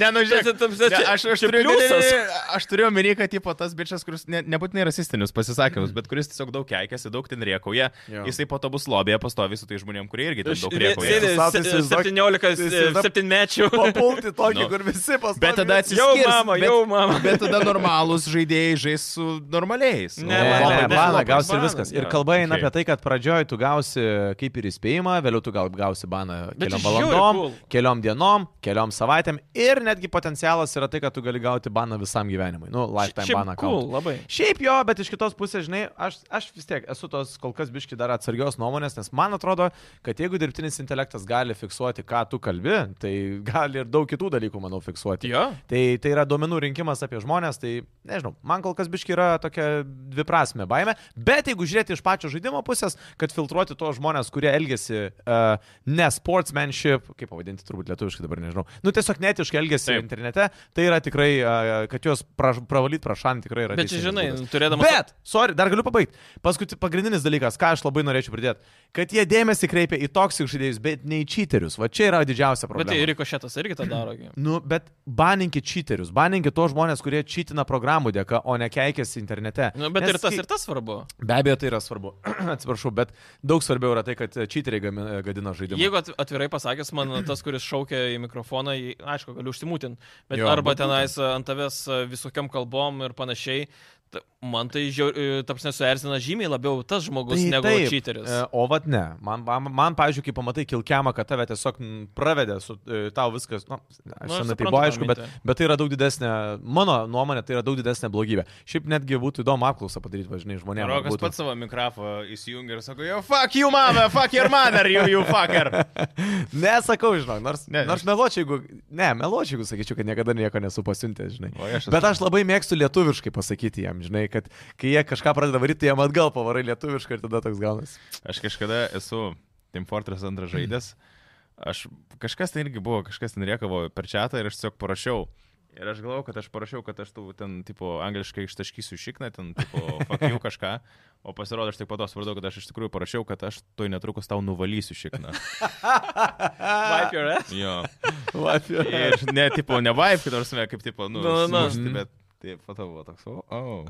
Ne, nu žiūrėk. Čia- čia- Ne, čia- Aš, aš čia turiu omeny- pliusas. aš turiu omeny, kad tipo, tas bičias, kuris ne, nebūtinai rasistinius pasisakymus, bet kuris tiesiog daug keikiasi, daug ten riekauja, Jo. jisai po to bus lobėje pastovi su tai žmonėm, kurie irgi ten Aš- daug ir- riekauja. Sėdi e, Tu sau se- įsivaizduok- 17, įsivaizduok- 17 mečių. Papulti tokį, Nu. no. kur visi pastovi. Bet tada Jau atsiskirs. mama, bet, jau mama. Bet tada normalūs žaidėjai žais su normaliais. Ne, Ne, O, ne, lopai ne, bus baną lopai. gausi ir baną, viskas. Ir jo. kalba eina Okay. apie tai, kad pradžioj tu gausi kaip ir įspėjimą, vėliau tu gal gausi baną Bet keliom čia žiauriai valandom, cool. keliom dienom, keliom savaitėm ir netgi potencialas yra tai, kad tu gali gauti baną visam gyvenimui. Nu, lifetime Šiaip baną cool, cool. labai. Šiaip jo, bet iš kitos pusės, žinai, aš, aš vis tiek esu tos kol kas biški dar atsargios nuomonės, nes man atrodo, kad jeigu dirbtinis intelektas gali fiksuoti, ką tu kalbi, tai gali ir daug kitų dalykų, manau, fiksuoti. Jo. Tai, tai yra duomenų rinkimas apie žmonės, tai nežinau, man kol kas biški yra tokia dviprasme baime, bet jeigu žiūrėti iš pačio žaidimo pusės, kad filtruoti tos žmonės, kurie elgesi uh, ne sportsmanship, kaip pavadinti turbūt lietuviškai dabar nežinau, nu tiesiog netiškai elgesi Taip. Taip. internete, tai yra tikrai, uh, kad juos praž, pravalyt prašant tikrai yra. Bet čia, teisingas žinai, būdas. turėdamas... Bet, sorry, dar galiu pabaigti. Paskutinis pagrindinis dalykas, ką aš labai norėčiau pridėti, kad jie dėmesį kreipia į toksik žaidėjus, bet ne į čyterius. Va čia yra didžiausia problema. Bet tai Rikošetas irgi tą daro. gi. Nu, bet baninkit čyterius, baninkit tos žmonės, kurie čytina programų dėka, o ne keikiasi internete. Nu, bet Nes ir tas, kai- ir tas svarbu. Be abejo, tai yra svarbu. Atsiprašau, bet daug svarbiau yra tai, kad čyteriai gami- gadina žaidimą. Jeigu at- atvirai pasakęs, man tas, kuris šaukia į mikrofoną, jį- aišku, galiu užsimūtin, bet Jo, jo, arba bet tenais a, ant tavęs a, visokiam kalbom ir panašiai, ta- man tai, taps nesuerzina žymiai labiau tas žmogus Tai negu taip, čyteris. e, O vad ne. Man, man, man pavyzdžiui, kai pamatai kilkiamą, kad tave tiesiog m, pravedė, su, e, tau viskas, nu, aš Nu, nu, šiandien aš tai suprantu buvo tą aišku, bet, mintį. bet tai yra daug didesnė, mano nuomonė, tai yra daug didesnė blogybė. Šiaip netgi būtų įdomu apklausą padaryti, važinai, žmonėms. Rokas pats savo mikrofoną įsijungia ir sako, jo, fuck you, mama, fuck your mother, you, you fucker. Nesakau, žinok, nors, Ne, ne, nors meločiai, jeigu... Ne, meločiai, jeigu sakyčiau, kad niekada nieko nesu pasiuntęs, žinai. O aš esu. Bet aš labai mėgstu lietuviškai pasakyti jam, žinai, kad kai jie kažką pradeda varyti, tai jam atgal pavarai lietuviškai ir tada toks gaunasi. Aš kažkada esu Team Fortress antrą žaidęs. Aš kažkas ten irgi buvo, kažkas ten riekavo per čatą ir aš tiesiog parašiau. Ir aš galvojau, kad aš parašiau, kad aš tau ten, tipo, angliškai ištaškysiu šikną, ten, tipo, fakiau kažką. O pasirodo, aš tik po to supratau, kad aš iš tikrųjų parašiau, kad aš tu netrukus tau nuvalysiu šikną. Wipe your ass. Jo. Latvija. Ir ne, tipo, ne vaip, nors mes kaip, tipo, nu, Nu, nu, nu. sumušti, bet taip, po to buvo toks, o, o.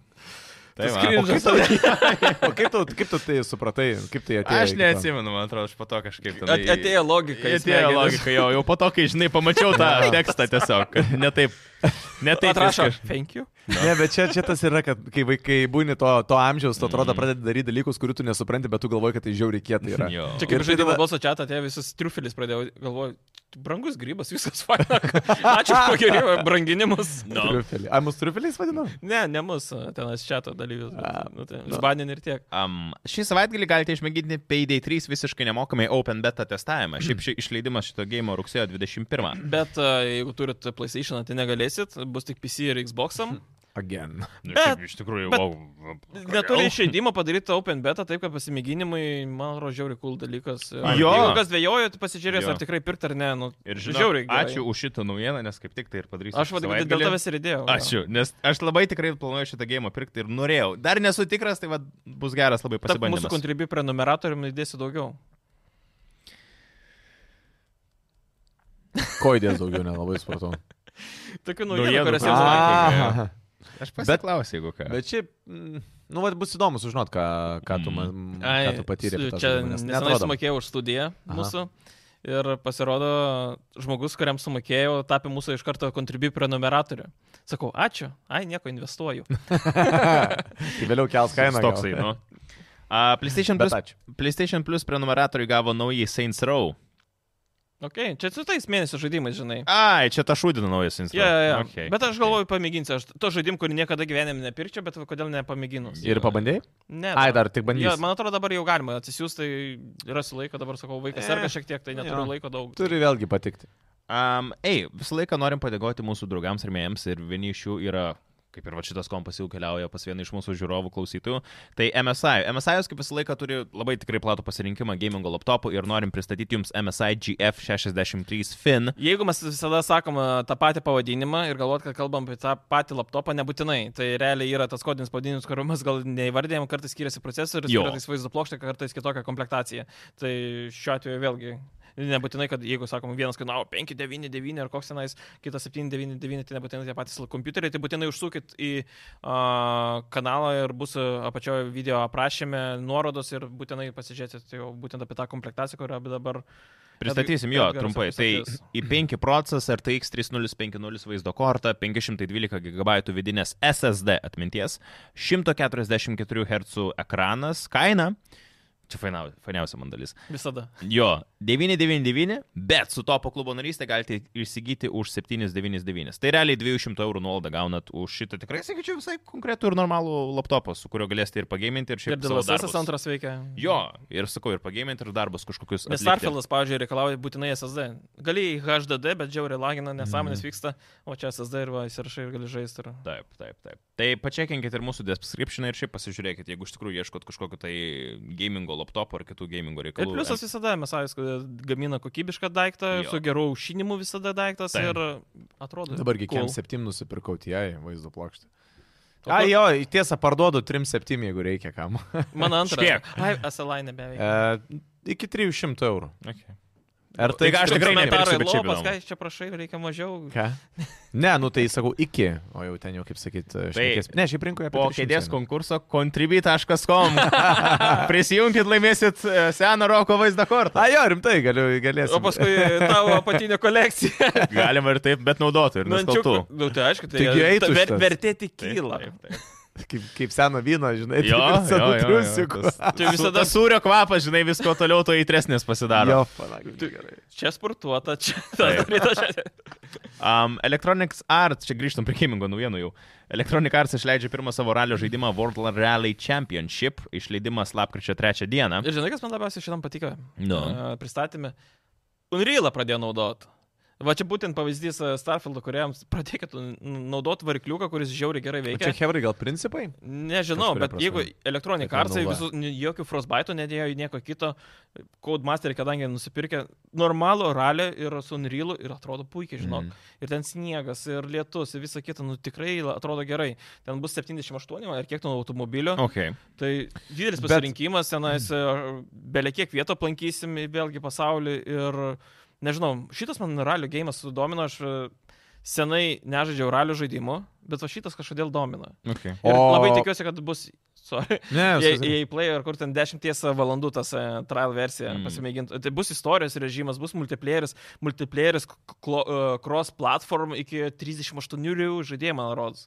Tai Tas va. O cringe- kaip tau, o kaip tau, kaip tau tai supratai, kaip tai atėjo? Aš iki to? neatsimenu, man atrodo, aš po to kažkaip ten... At, atėjo logika. Atėjo į smegenis. logika, jau, jau po to, kai, žinai, pamačiau tą tekstą tiesiog. Ne taip. Ne taip Atrašo. viskas. Thank you. Ne, bet čia, čia tas yra, kad kai vaikai būni to, to amžiaus, Mm. tu atrodo pradedi daryti dalykus, kurių tu nesupranti, bet tu galvoji, kad tai žiauriai kietai yra. Jo. Čia Ir kaip tai žaidimo tada- balso čia atėjo visas triufelis, pradėjau galvoti, brangus grybas, viskas faina. Ačiū už pagerimą, branginimus. No. Triufelį. Ar mus trufeliais vadinam? Ne, ne mūsų tenas čia to dalyvius. A, Nu, tai, Žbanin ir tiek. Um, šį savaitgalį galite išmėginti Payday 3 visiškai nemokamai Open Beta testavimą. Šiaip ši išleidimas šito gėjimo rugsėjo 21. Bet a, jeigu turit PlayStation, tai negalėsit, bus tik PC ir Xbox. Am. Again. Nu, Bet- šiaip iš tikrųjų, bet- wow. Neturi išeidimo padaryti Open Beta, taip kad pasimėginimai, man atrodo, žiauri cool dalykas. Ir Jo. Jeigu kas dvėjojo, tai pasižiūrės, Jo. ar tikrai pirkt ar ne. Nu, Ir žinau, žiauriai. gerai. ačiū už šitą naujieną, nes kaip tik tai ir padarysiu. Aš vadinu, dėl savaitgalį. tavęs ir idėjau. Ačiū, nes aš labai tikrai planuoju šitą gėjimą pirkti ir norėjau. Dar nesu tikras, tai va, bus geras labai Taip, mūsų pasibandymas. kontribi prenumeratoriumi įdėsiu daugiau. Ko idėjas daugiau nelabai supratau. Tokių Naujienų naujienų, kurias jau pranešimų. matėme. Aha. Aš pasiklausiu, jeigu ką. Bet šiaip, mm, nu, vat, bus įdomu sužinot, Mm. ką, ką, tu, man, ką tu patyrė. Čia nesenai sumokėjau už studiją Aha. mūsų. Ir pasirodo, žmogus, kuriam sumokėjau, tapė mūsų iš karto kontribui prenumeratoriu. Sakau, ačiū, ai, nieko investuoju. Tai vėliau kels kainą. gal. Toksai, nu. A, PlayStation, Bet Plus, ačiū. PlayStation Plus prenumeratoriai gavo naują Saints Row. Ok, čia su tais mėnesio žaidimais, žinai. Ai, čia ta šūdina naują Saints Row. Ja, ja, ja. Okay, Okay, bet aš galvoju, pamėginsiu. Aš to žaidim, kurį niekada gyvenime nepirčiau, bet va kodėl nepamėginus? Ir pabandėjai? Ne. Ai, dar tik bandysiu. Jo, man atrodo, dabar jau galima atsisiųsti, yra su laiko, dabar sakau, vaikas E, serga šiek tiek, tai neturiu jo. laiko daug. Turi vėlgi patikti. Um, ei, visą laiką norim padėkoti mūsų draugams ir mėjams ir vieni iš jų yra, kaip ir va šitas kompas jau keliauja pas vieną iš mūsų žiūrovų klausytojų, tai MSI. MSI jūs kaip visą laiką turi labai tikrai platų pasirinkimą gamingo laptopų ir norim pristatyti jums MSI GF63 Fin. Jeigu mes visada sakom e, tą patį pavadinimą ir galvot, kad kalbam apie tą patį laptopą, nebūtinai. Tai realiai yra tas kodinis pavadinimas, kurio mes gal neįvardėjom, kartais skiriasi procesorius, Jo. kartais vaizdo plokštė, kartais kitokia komplektacija. Tai šiuo atveju vėlgi. Nebūtinai, kad jeigu sakom, vienas kainavo 599 ar koks tenais, kitas 799, tai nebūtinai tie patys kompiuteriai, tai būtinai užsukit į uh, kanalą ir bus e, apačioje video aprašyme nuorodos ir būtinai pasižiūrėsit jau būtent apie tą komplektaciją, kurią dabar Pristatysim Edg- jo Edgaras trumpai. Tai pristatys. i5 procesas RTX 3050 vaizdo kortą, 512 GB vidinės SSD atminties, 144 Hz ekranas, kaina. Čia fainau- fainiausia man dalis. visada. Jo, 999, bet su topo klubo narystė galite įsigyti už 799. Tai realiai 200 eurų nuolaidą gaunat už šitą tikrai, sakyčiau, visai konkretų ir normalų laptopą, su kuriuo galėsite ir pagėminti, ir šiaip Ir dėl savo visas darbus. antras veikia. Jo, ir sakau, ir pagėminti, ir darbus kažkokius. Nes atlikti. Starfieldas, pavyzdžiui, reikalauja būtinai SSD. Gali į HDD, bet džiauri lagina, Mhm. nesąmonės mm. vyksta, o čia SSD ir va, įsirašai ir gali žaisti. Ir... Taip, taip, taip. Tai pačiakinkit ir mūsų description ir šiaip pasižiūrėkit, jeigu iš tikrųjų ieškot kažkokio tai gamingo laptopo ar kitų gamingo Ir reikalų. pliusas visada, mes aišku, gamina kokybišką daiktą, Jo. jo. su geru aušinimu visada daiktas Taip. ir atrodo. Dabargi cool. KM7 nusipirkau TI vaizdo plokštę. O tai Ai, kur- jo, tiesa, parduodu 3-7, jeigu reikia kam. Mano antras. Škiek. Ai, SLI nebeveik. E, iki 300 eurų. Okay. Ar tai Tai ką, aš tikrai tikrai nepirksiu, Komentarai bet šiaip lopas, įdomu. ką jūs čia prašai, reikia mažiau. Ką? Ne, nu tai sakau iki, o jau ten jau kaip sakyt, e, šnekės. Ne, šiaip rinkoje apie Po 300 kėdės eina. konkurso contribui.com. Prisijunkit, laimėsit e, seną roko vaizdo kortą. A, jo, rimtai, galiu, galėsiu. O paskui e, tavo apatinė kolekcija. Galima ir taip, bet naudotų ir nuskaltų. Nančiukų. Nu, tai aišku, tai Taigi eitų ta ver, šitas. vertė tik kyla. Kaip, kaip seno vyno, žinai, Jo, taip ir jo, senų jo, jo, triusikų. tas- Čia Visada visada sūrio kvapas, žinai, visko toliau to įtresnės pasidaro. Jo, panašiai. gerai. čia sportuota, čia. Taip. Taip. Um, Electronics Arts, čia grįžtam prie gamingo naujienų jau. Electronic Arts išleidžia pirmą savo ralio žaidimą World Rally Championship, išleidimas lapkričio 3 dieną. Ir žinai, kas man labiausiai šitam patiko? Nu. E, Pristatymė. Unrealą pradėjo naudot. Va čia būtent pavyzdys e, Starfieldo, kuriems pradėkit naudot varikliuką, kuris žiauriai gerai O Čia veikia. Hebrai gal principai? Nežinau, Kažkuria bet prasme. jeigu elektronik Kad artsai naudoja. visų, n- jokių frostbite'ų nedėjo į nieko kito, Codemasterį, kadangi nusipirkė normalų ralį ir su Unrealu ir atrodo puikiai, Mhm. žinok. Mm. Ir ten sniegas, ir lietus, ir visa kita, nu tikrai la- atrodo gerai. Ten bus 78 ar kiek ten automobilio. Okay. Tai didelis Bet- pasirinkimas, tenais e, beliekiek vietą aplankysim į vėlgi pasaulį ir nežinau, šitas man ralių gėjimas sudomino, aš e, senai nežaidžiau ralių žaidimų, bet va šitas kažkodėl domina. Okay. Ir O- labai tikiuosi, kad bus, sorry, Ne, jei susi- jei į play ar kur ten 10 valandų tas e, trial versija Mm. mm. pasimėginti, tai bus istorijos režimas, bus multiplayeris, multiplayeris k- klo- e, cross platform iki 38 rių žaidėjai, man rodos.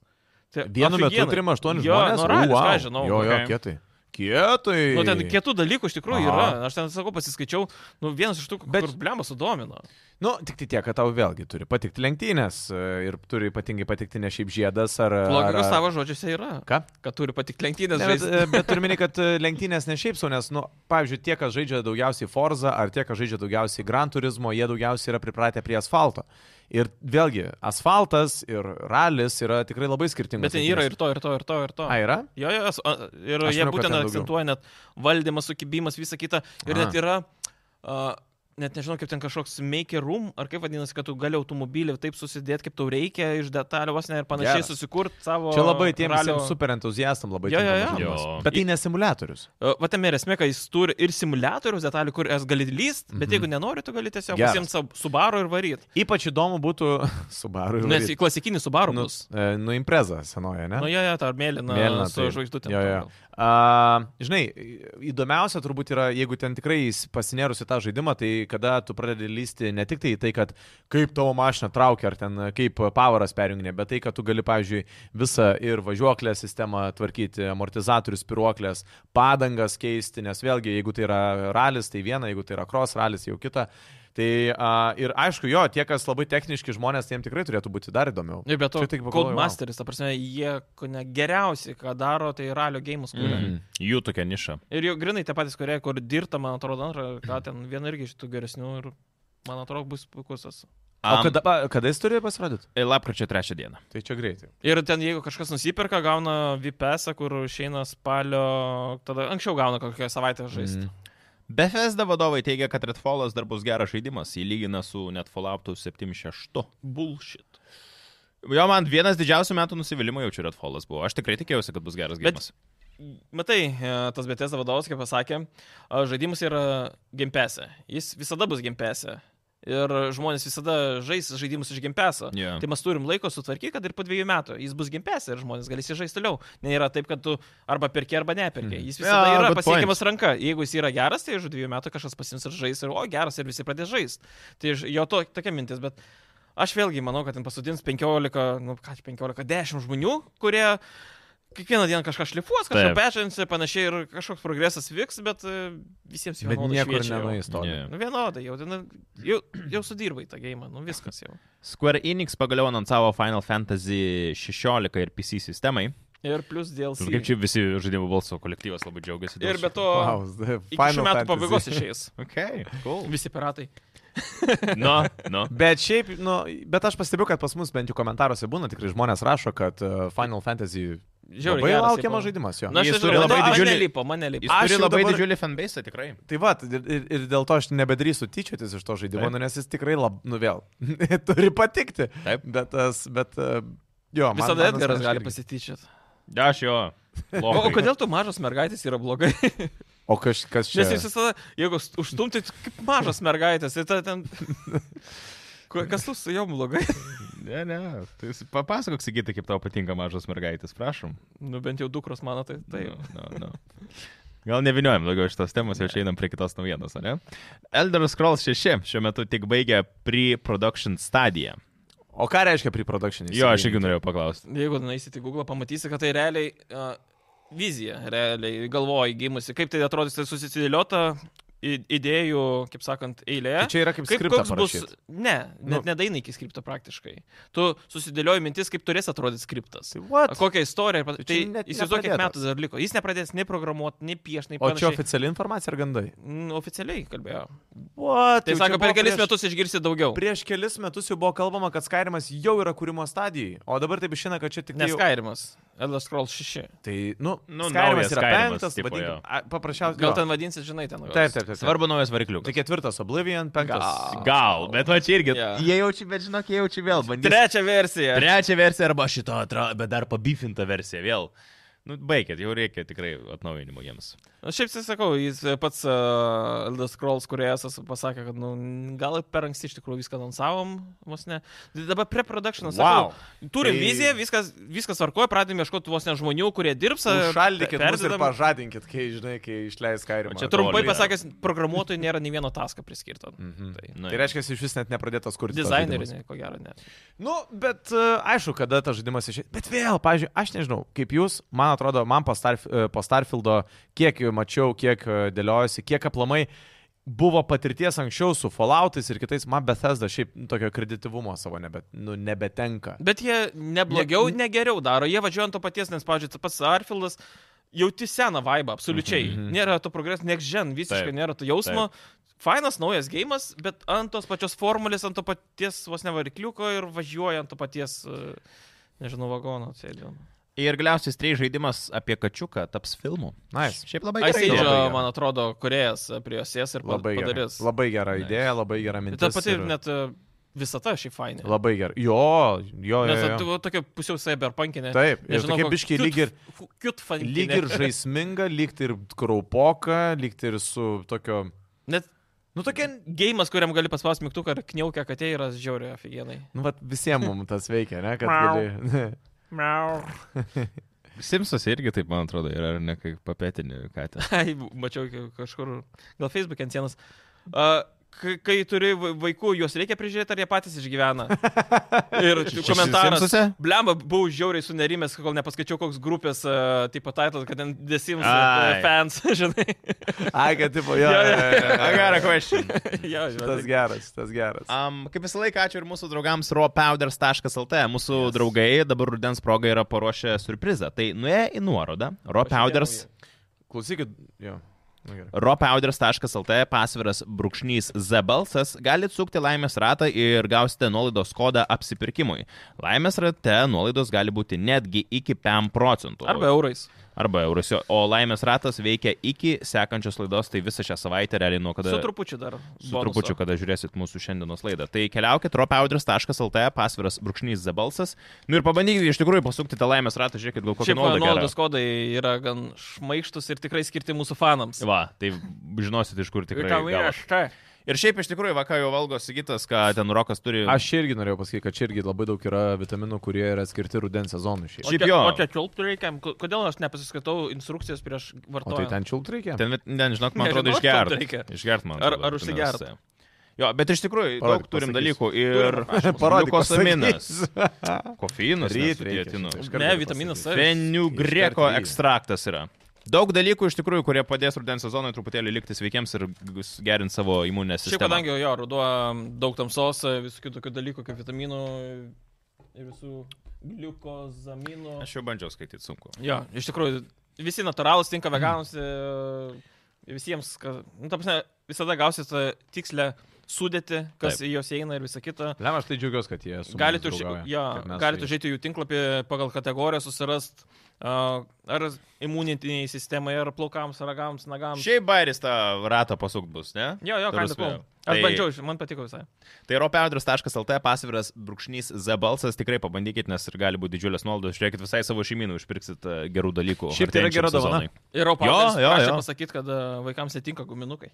Tai Vienu metu afigienai. trim aštuoni Jo, žmonės. nu, ralis, O, ką vau. aš žinau, Jo, jo, okay. kietai. Kietai. Nu, ten kietų dalykų iš tikrųjų Aha. Aha. yra. Aš ten sakau, pasiskaičiau, nu, vienas iš tų, Bet- bet... kur blemą sudomino. Nu, tik tai tiek, kad tau vėlgi turi patikti lenktynės e, ir turi ypatingai patikti ne šiaip žiedas ar... ar- Logikos ar- savo žodžiuose yra. Ką? Kad turi patikti lenktynės. Ne, bet, žaist. e, bet turime, kad e, lenktynės ne šiaip sau, nes, nu, pavyzdžiui, tie, kas žaidžia daugiausiai Forza ar tie, kas žaidžia daugiausiai Gran Turismo, jie daugiausiai yra pripratę prie asfalto. Ir vėlgi, asfaltas ir ralis yra tikrai labai skirtingi. Bet ten yra ir to, ir to, ir to, ir to. A, yra? Jo, jo, esu- a- ir Aš maniau, jie kad būtent ten daugiau. akcentuoja net valdymą, sukibimas, visą kitą. Aha. Ir Aha. net yra, uh, net nežinau, kaip ten kažkoks maker room, ar kaip vadinasi, kad tu gali automobilį taip susidėti, kaip tau reikia, iš detalių vos ne ir panašiai Geras. susikurti savo. Čia labai tiem ralio- ralio... super entuziastam labai Jo, jo, tinkamas jo. žaidimas. Jo. Bet tai ne simuliatorius. Uh, Va tam ir esmė, kad jis turi ir simuliatorius detalių, kur es gali lyst, bet Mhm. jeigu nenori, tu gali tiesiog Geras. pasiimti savo subaro ir varyt. Ypač įdomu būtų su baru. ir Nes varyt. į klasikinį subaru nu, bus. e, nu impreza senoje, ne? Nu, jie, jie, tą mėlyną, Mėlyna, mėlyną su tai- tai... žvaigždutėm. Jo, jo. Uh, žinai, įdomiausia turbūt yra, jeigu ten tikrai įs- pasinėrus į tą žaidimą, tai kada tu pradedi lysti ne tik tai į tai, kad kaip tavo mašina traukia, ar ten kaip pavaras perjunginė, bet tai, kad tu gali, pavyzdžiui, visą ir važiuoklę sistemą tvarkyti, amortizatorius, piruoklės, padangas keisti, nes vėlgi, jeigu tai yra ralis, tai viena, jeigu tai yra cross ralis, jau kita. Tai a, ir aišku, jo, tie, kas labai techniški žmonės, tiem tikrai turėtų būti dar įdomiau. Nu, Ir be to, Čia tik pagalvojau, vau. Codemasteris, ta prasme, jie kone geriausiai, ką daro, tai ralio gėjimus kuria. Mm. Mhm. Jų tokia niša. Ir jau grinai tie patys, kurie, kur dirbta, man atrodo, antrą, ką ten viena irgi iš tų geresnių ir, man atrodo, bus puikusas. O Am- kada, pa- kada jis turi pasirodyti? e, Lapkričio trečią dieną. Tai čia greitai. Ir ten, jeigu kažkas nusipirka, gauna VPS, kur išeina spalio, tada anksčiau gauna kokią savaitę Mhm. žaisti. Mm. Bethesda vadovai teigia, kad Redfallas dar bus geras žaidimas, jį lygina su Netfalloutu 76. Bullshit. Jo, man vienas didžiausių metų nusivylimų jaučiu Redfallas buvo. Aš tikrai tikėjausi, kad bus geras Bet- gėjimas. Matai, e, tas BTS vadovas, kaip pasakė, a, žaidimas yra gimpesė. Jis visada bus gimpesė. Ir žmonės visada žais žaidimus iš gimpesą. Jo. Tai mes turim laiko sutvarkyti, kad ir po dviejų metų jis bus gimpesė ir žmonės galės įžaisti toliau. Nėra taip, kad tu arba perki, arba neperki. Jis visada Jo, yeah, yra good pasiekiamas ranka. Jeigu jis yra geras, tai už dviejų metų kažkas pasims ir žais, ir o geras, ir visi pradės žaisti. Tai iš- jo to, tokia mintis, bet aš vėlgi manau, kad ten pasodins 15, nu ką, 15-10 žmonių, kurie kiekvieną dieną kažką šlifuos, kažką Taip. pečins ir panašiai, ir kažkoks progresas vyks, bet e, visiems Bet vienodai niekur šviečia jau. nenuės to. Ne. Nu, vienodai jau, ten, jau, jau sudirbai tą gėjimą, nu viskas jau. Square Enix pagaliau anonsavo Final Fantasy 16 ir PC sistemai. Ir plus dėl... Kaip čia visi žaidimų balso kolektyvas labai džiaugiasi. dėl Ir be šito. to, Wow, wow. the iki Final šių metų Fantasy. pabaigos išeis. Okay, cool. Visi piratai. No, no. Bet šiaip, nu, bet aš pastebiu, kad pas mus bent jau komentaruose būna tikrai žmonės rašo, kad e, Final Fantasy Žiauri, labai geras laukiamas šiaip žaidimas jo. Na, Jis aš turi turiu labai labai didžiulį- didžiulį... Mane lipo, mane lipo. Jis Aš turi jau labai dabar- didžiulį fanbase, tikrai. Tai va, ir, ir, ir dėl to aš nebedarysiu tyčiotis iš to žaidimo, Taip. nu, nes jis tikrai lab, nu vėl, turi patikti. Taip. Bet tas, bet, e, jo, man- Visada man Edgaras asmeniškai gali irgi. pasityčiat. Aš jo. O, o kodėl tu mažas mergaitės yra blogai? O kaž, kas čia? Nes jis visada, jeigu s- užtumti, tai kaip mažas mergaitės, tai ta ten... Ko- Kas tu su jom blogai? Ne, ne. Tai jis- papasakok, sakyti, kaip tau patinka mažos mergaitės, prašom. Nu bent jau dukros mano, tai tai. No, no, no. Gal neviniojam daugiau šitos temos, jau čia einam prie kitos naujienos, ar ne? Elder Scrolls 6 šiuo metu tik baigia pre-production stadiją. O ką reiškia pre-production? Jo, aš irgi norėjau paklausti. Jeigu nueisite į Google, pamatysi, kad tai realiai uh, vizija, realiai galvoji gimusi, kaip tai atrodys, tai susidėliota i- idėjų, kaip sakant, eilė. Tai čia yra kaip skriptas. koks bus. Ne, net Nu. nu. nedaina iki skripto praktiškai. Tu susidėlioji mintis, kaip turės atrodyti skriptas. What? A, Kokią istoriją, ir pan- Tai čia tai net įsivaizduok, kiek nepradėta. metų dar liko. Jis nepradės nei programuoti, nei piešti, nei O čia panašiai. oficiali informacija ar gandai? Mm, Oficialiai kalbėjo. What? Tai Jau čia sako, per buvo kelis prieš- metus išgirsi daugiau. Prieš kelis metus jau buvo kalbama, kad Skyrimas jau yra kūrimo stadijai, o dabar taip išina, kad čia tik tai... jau- Neskairimas. Elder Scrolls 6. Tai, nu, nu Nu, naujas Skyrimas yra Skyrimas, penktas, tipo, jo. vadinkim, a- paprasčiausiai. Gal jo. ten vadinsit, žinai, ten. Taip, taip, taip. taip. Svarbu naujas varikliukas. Tai ketvirtas Oblivion, penktas. Gal. Gal, bet va čia irgi. Jo. Jie jaučia, bet žinok, jie jaučia vėl. bandys- Trečia versija. Trečia versija arba šito, atrodo, bet dar pabifinta versija vėl. Nu, baigit, jau reikia tikrai atnaujinimo jiems. Aš šiaip tai sakau, jis e, pats uh, Elder Scrolls, kurie esas pasakė, kad nu, gal ir per anksti iš tikrųjų viską anonsavom, vos ne. Tai Dabar Nu, pre-productionas. Wow. Turim Tai- tai... viziją, viskas, viskas varkoja, pradėjome ieškoti vos ne žmonių, kurie dirbs. nu, e, Nu, Šaldykit mus ir perdedam. pažadinkit, kai, žinai, kai išleis Skyrimą. O čia tru- Trumpai Toliai. pasakęs, programuotojai nėra nei vieno taską priskirto. Mhm. Tai. Nu, Tai reiškia, iš vis net nepradėtas kurti. tos žaidimus. Dizaineriai, ne, ko gero, ne. Nu, bet e, aišku, kada tas žaidimas išėjo. Bet vėl, pavyzdžiui, aš nežinau, kaip jūs, man atrodo, man po, Starf e, po Starfieldo, kiek jų mačiau, kiek e, dėliojosi, kiek aplamai buvo patirties anksčiau su Falloutais ir kitais, man Bethesda šiaip nu, tokio kredityvumo savo nebe, nu, nebetenka. Bet jie neblogiau, ne, negeriau daro, jie važiuoja ant to paties, nes, pavyzdžiui, tas pats Arfieldas. Jauti seną vaibą, absoliučiai. Mhm. Nėra to progreso, nek žen, visiškai Taip, nėra to jausmo. Fainas naujas gėjimas, bet ant tos pačios formulės, ant to paties vos nevarikliuko ir važiuoja ant to paties, e, nežinau, vagono sėdėjimo. Ir galiausiai strei žaidimas apie kačiuką taps filmu. Nice. Šiaip labai Ice Age. gerai. Aiseidžio, gera. man atrodo, kuriejas e, prie jos sės ir pa- Labai gera, padarys. labai gera Nice. idėja, labai gera mintis. Ir ta pati ir- net e, visata šiaip fainė. Labai gerai. Jo, jo, jo. Nes jo. tu tokia pusiau cyberpunkinė. Taip, ir Nežinau, tokia ko- biški kiut- lyg ir, fu- Kiut funkinė. lyg ir žaisminga, lyg ir kraupoka, lyg ir su tokio... Net Nu, tokia... gėjimas, kuriam gali paspausti mygtuką ir kniaukia katė yra žiauriai aфиgenai. Nu, vat visiems mums tas veikia, ne? Kad Miau. gali... Simpsons irgi taip, man atrodo, yra ar ne kaip papetinį katę. Ai, mačiau ki- kažkur, gal Facebook'e ant sienos. Uh, k- kai turi va- vaikų, juos reikia prižiūrėti, ar jie patys išgyvena. Ir komentaras. Simpsuose? Blemba, buvau žiauriai sunerimęs, kol nepaskaičiau, koks grupės, uh, tipo, title, kad ten desims Ai. uh, fans, žinai. Ai, kad tipo, jo. Jo, jo, jo. tai- jo, jo, jo. Gerą question. jo, Tas žinai. geras, tas geras. Um, kaip visą laiką, ačiū ir mūsų draugams rawpowders.lt. Mūsų yes. draugai dabar rudens proga yra paruošę surprizą. Tai nuėję į nuorodą rawpowders. Klausykit, jo. Nu, gerai. ropauders.lt pasviras brūkšnys Z balsas galite sukti laimės ratą ir gausite nuolaidos kodą apsipirkimui. Laimės rate nuolaidos gali būti netgi iki 5 procentų. Arba eurais. Arba eurus. jo. O laimės ratas veikia iki sekančios laidos, tai visą šią savaitę realiai nuo kada... Su trupučiu dar. Su bonuso. trupučiu, kada žiūrėsit mūsų šiandienos laidą. Tai keliaukit ropauders.lt, pasviras brūkšnys zabalsas. Nu ir pabandykite iš tikrųjų pasukti tą laimės ratą, žiūrėkit, gal kokią Šiaip va, nuolaidą. nuolaidos gerą. kodai yra gan šmaištus ir tikrai skirti mūsų fanams. Va, tai žinosit, iš kur tikrai. Kam gavot. aš čia? Ir šiaip iš tikrųjų, vakar jau valgo Sigitas, kad ten Rokas turi... Aš čia irgi norėjau pasakyti, kad čia irgi labai daug yra vitaminų, kurie yra skirti rudens sezonui. šiaip. O Šiaip jo. O čia čiulpti reikia. Ko- Kodėl aš nepasiskaitau instrukcijas prieš O tai vartotojus? ten čiult reikia? Ten, ne, žinok, man atrodo, Nežinau, kiek išgert. nu, reikia. Išgert man. Ar- atrodo, ar užsigert? vitamin C. Jo, bet iš tikrųjų, Parodyk, daug turim pasakysiu. dalykų. Ir Parodyk, liukosaminas, pasakys. kofeinas, Ryt reikia. Iš karto Ne, galiu vitaminas pasakyti. C. Feniugreko Išgert reikia. ekstraktas yra. Daug dalykų iš tikrųjų, kurie padės rudens sezonui truputėlį likti sveikiems ir gerint savo imuninę Šiaip sistemą. kadangi jo, ruduo daug tamsos, visokių tokių dalykų kaip vitaminų ir visų gliukozaminų. Aš jau bandžiau skaityti sunku. Jo, iš tikrųjų, visi natūralūs tinka veganams, e, visiems, ka, nu, ta prasme, visada gausit e, tikslę sudėti, kas Taip. Taip. į juos įeina ir visa kita. Lem, aš tai džiaugiuosi, kad jie su Galite, mumis už, draugauja, jo, kad mes galite su jais- užėti į jų tinklapį pagal kategoriją, susirast uh, ar imunitiniai sistemai, ar plaukams, ragams, nagams. Šiaip bairis tą ratą pasukt bus, ne? Jo, jo, Ta ką prasme, tik buvau. Aš tai- bandžiau, ži- man patiko visai. Tai ropeudras.lt pasviras brūkšnys zabalsas tikrai pabandykit, nes ir gali būti didžiulės nuolaidos. Žiūrėkit visai savo šeimynų, užpirksit e, gerų dalykų. Šiaip tai yra artėjančiam gera dovana. sezonui. Ir opaudas, jo, aš jo. pasakyti, kad e, vaikams netinka guminukai.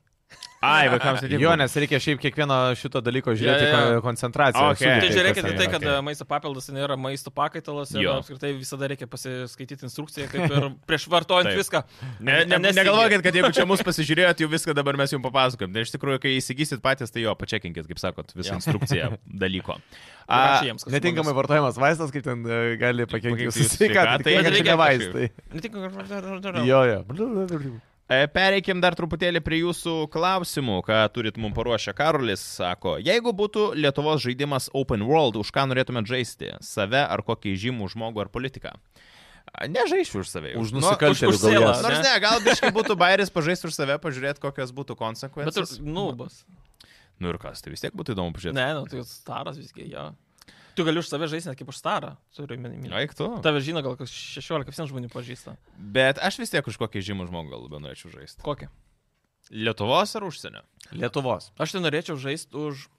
Ai, vaikams Jo, nes reikia šiaip kiekvieno šito dalyko žiūrėti jo. yeah, yeah. koncentraciją. sudėtį, Okay. Tai Taip, žiūrėkit kas į ten tai, yra. kad okei. e, maisto papildas nėra maisto pakaitalas ir Jo. apskritai visada reikia pasiskaityti instrukciją, kaip ir prieš vartojant Taip. viską. Ne, ne, Nesigi. negalvokit, kad jeigu čia mus pasižiūrėjot, jau viską dabar mes jums papasakom. Ne, iš tikrųjų, kai įsigysit patys, tai jo, pačekinkit, kaip sakot, visą instrukciją dalyko. Rašė jiems, kas su Netinkamai mumis. vartojamas vaistas, kaip ten e, gali pakenkti Pakenkti jūsų jūsų sveikatai. sveikatai. Tai Bet reikia reikia ne vaistai. Netinka, Jo, Nu, jo. E, Pereikim dar truputėlį prie jūsų klausimų, ką turit mums paruošę. Karolis sako, jeigu būtų Lietuvos žaidimas Open World, už ką norėtumėt žaisti? Save ar kokį žymų žmogų ar politiką? A, Nežaisiu už save. Už Nu, nusikaltėlių už sielą, galvas. ne? Nors ne, gal biškai būtų bairis pažaisti už save, pažiūrėti, kokios būtų Bet ir konsekvencijos. nubas. Nu ir kas, tai vis tiek būtų įdomu pažiūrėti. Ne, nu, tai staras visgi, jo. Tu gali už save žaisti net kaip už starą, turiu minimį. Eik tu. Tave žino gal kas 16 žmonių pažįsta. Bet aš vis tiek už kokį žymų žmogų gal labiau norėčiau žaisti. Kokį? Lietuvos ar užsienio? Lietuvos. Aš tai norėčiau žaisti už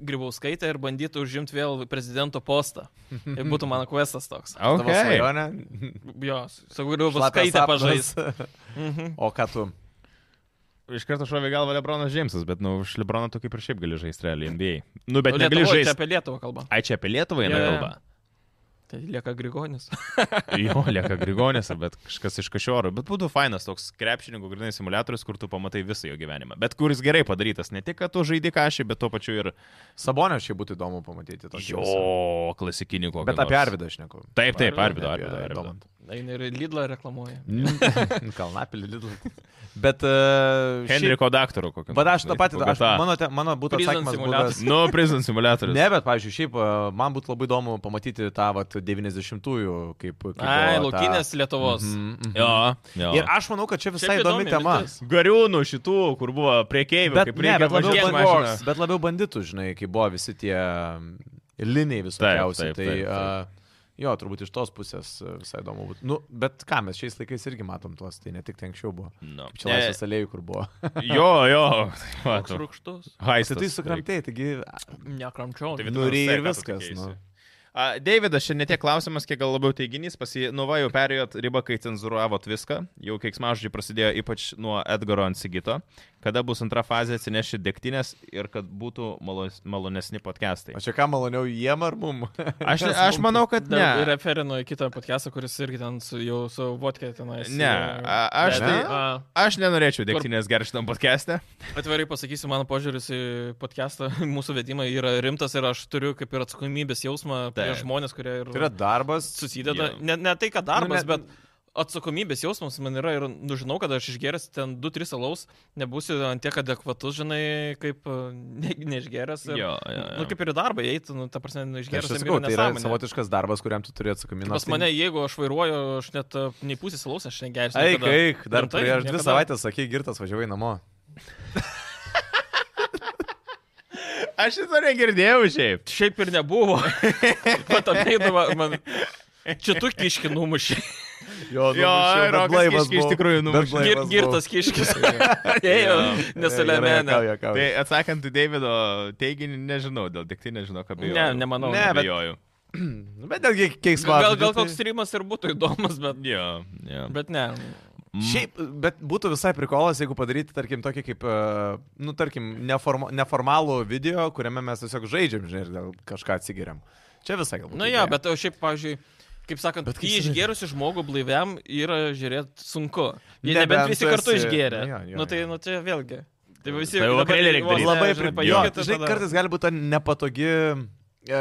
Grybauskaitę ir bandyti užimti vėl prezidento postą. Ir būtų mano questas toks. Tavo Okay. svajonė. Jo, su Grybauskaitė Mhm. Šlapias pažaisti. sapnas. O ką tu? Iš karto šovė į galvą Lebronas Džeimsas, bet nu, už Lebroną tu kaip ir šiaip gali žaisti realiai NBA. Nu, bet negali Lietuvoj, čia žaisti. apie Lietuvą kalba. Ai, čia apie Lietuvą eina Jo, jo. kalba. Tai lieka Grigonis. Jo, lieka Grigonės, bet kažkas iš kašiorų. Bet būtų fainas toks krepšininkų grinai simulatorius, kur tu pamatai visą jo gyvenimą. Bet kuris gerai padarytas, ne tik, kad tu žaidi kažį, bet tuo pačiu ir... Sabonio šiaip būtų įdomu pamatyti. tokį visą. Jo, klasikinį kokį. Bet apie Arvidą aš neku. Taip, taip, Arvidą, Arvido, Arvido, Arvido. Eina ir Lidlą reklamuoja. Kalnapilį Lidlą. Bet... e, šiaip- Henriko daktaro kokį. Bet aš tą patį, aš, mano, te, mano būtų Prison atsakymas simuliatorius. būtų... Nu, prison simulatorius. Ne, bet, pavyzdžiui, šiaip e, man būtų labai įdomu pamatyti tą vat, 90-ųjų kaip... kaip buvo Ai, ta- laukinės Lietuvos. Mhm, mhm. Jo, jo. Ir aš manau, kad čia visai Šiaip įdomi įdomi tema. mintis. Gariūnų šitų, kur buvo priekeivių, Bet, kaip ne, reikia bet, labiau važiuoti mašiną. banditų, bet labiau banditų, žinai, kai buvo visi tie mm, liniai visokiausiai. taip, Tai taip, taip. a, jo, turbūt iš tos pusės a, visai įdomu būtų. Nu, bet ką mes šiais laikais irgi matom tuos, tai ne tik ten anksčiau buvo. Nu, Kaip Čia laisvės alėjų, kur buvo. jo, jo. Koks rūkštus. Tai tai sukramtėjai, taigi... Nekramčiau. Tai Nu, vitaminas C, ir ką tu viskas. keisi? Nu. A, Davidas, šiandien tiek klausimas, kiek gal labiau teiginys, pasinuva jau perėjot ribą, kai cenzuravot viską, jau keiksmažodžiai prasidėjo ypač nuo Edgaro ant Sigito, kada bus antra fazė atsineši dėktinės ir kad būtų malos- malonesni podcastai. O čia ką maloniau jiem ar mum? Aš, aš manau, kad Ne. Ir ne. referinu į kitą podcastą, kuris irgi ten su, jau su vodkė tenais. Ne, e, a- aš bet, tai- a, Aš nenorėčiau dėktinės gerštam podcast'e. Atvirai pasakysiu, mano požiūris į podcastą, mūsų vedimą yra rimtas ir aš turiu kaip ir atsakomybės jausmą prie Taip. žmonės, kurie ir Tai yra darbas. susideda. Jo. Ne, ne tai, kad darbas, Nu, ne- bet atsakomybės jausmas man yra ir, nu, žinau, kad aš išgeręs ten 2-3 alaus, nebūsiu ant tiek adekvatus, žinai, kaip e, ne, neišgeręs. Ir, Jo, jo, jo. Nu, kaip ir į darbą eiti, nu, ta prasme, nu, Aš išgeręs. sakau, tai yra savotiškas darbas, kuriam tu turi atsakomybę. Pas mane, jeigu aš vairuoju, aš net e, nei pusės alaus, aš negersiu. Eik, niekada. eik, dar Rimtai? prieš dvi Niekada. savaitės sakė, girtas važiavai namo. Aš šitą negirdėjau šiaip. Šiaip ir nebuvo. Bet apeidavo man. Čia tu kiški numušiai. Jo, Jo, numušiau, bet Rokas blaivas Kiškį iš buvau. tikrųjų Bet numušė. blaivas Gir, buvau. girtas kiškis. Ėjo, Gerai, nesulemenė. juokauju, juokauju. Tai atsakant į Davido teiginį, nežinau, dėl dėktinės žinau, ką bijau. Ne, nemanau. Ne, bet- Bijoju. Nu, Bet netgi keiksmas. Gal, gal koks streamas ir būtų įdomus, bet... Jo, jo. Bet ne. Nu Mm. Šiaip, bet būtų visai prikolas, jeigu padaryti, tarkim, tokį kaip, e, nu, tarkim, neforma, neformalų video, kuriame mes tiesiog žaidžiam, žinai, ir gal kažką atsigeriam. Čia visai galbūt. Na Nu jo, bet o šiaip, pavyzdžiui, kaip sakant, Bet bet kai kai save- išgėrusi žmogų blaiviam yra žiūrėti sunku. Jie Nebent nebent visi tu kartu esi- išgėrė. jo, jo, Nu tai, jo. nu čia vėlgi. Tai visi Tai jau dabar vakarėlį reik vos daryt. ne, labai žinai, pripajo. pajuokit, Žinai, tada- kartais gali būti ta nepatogi e,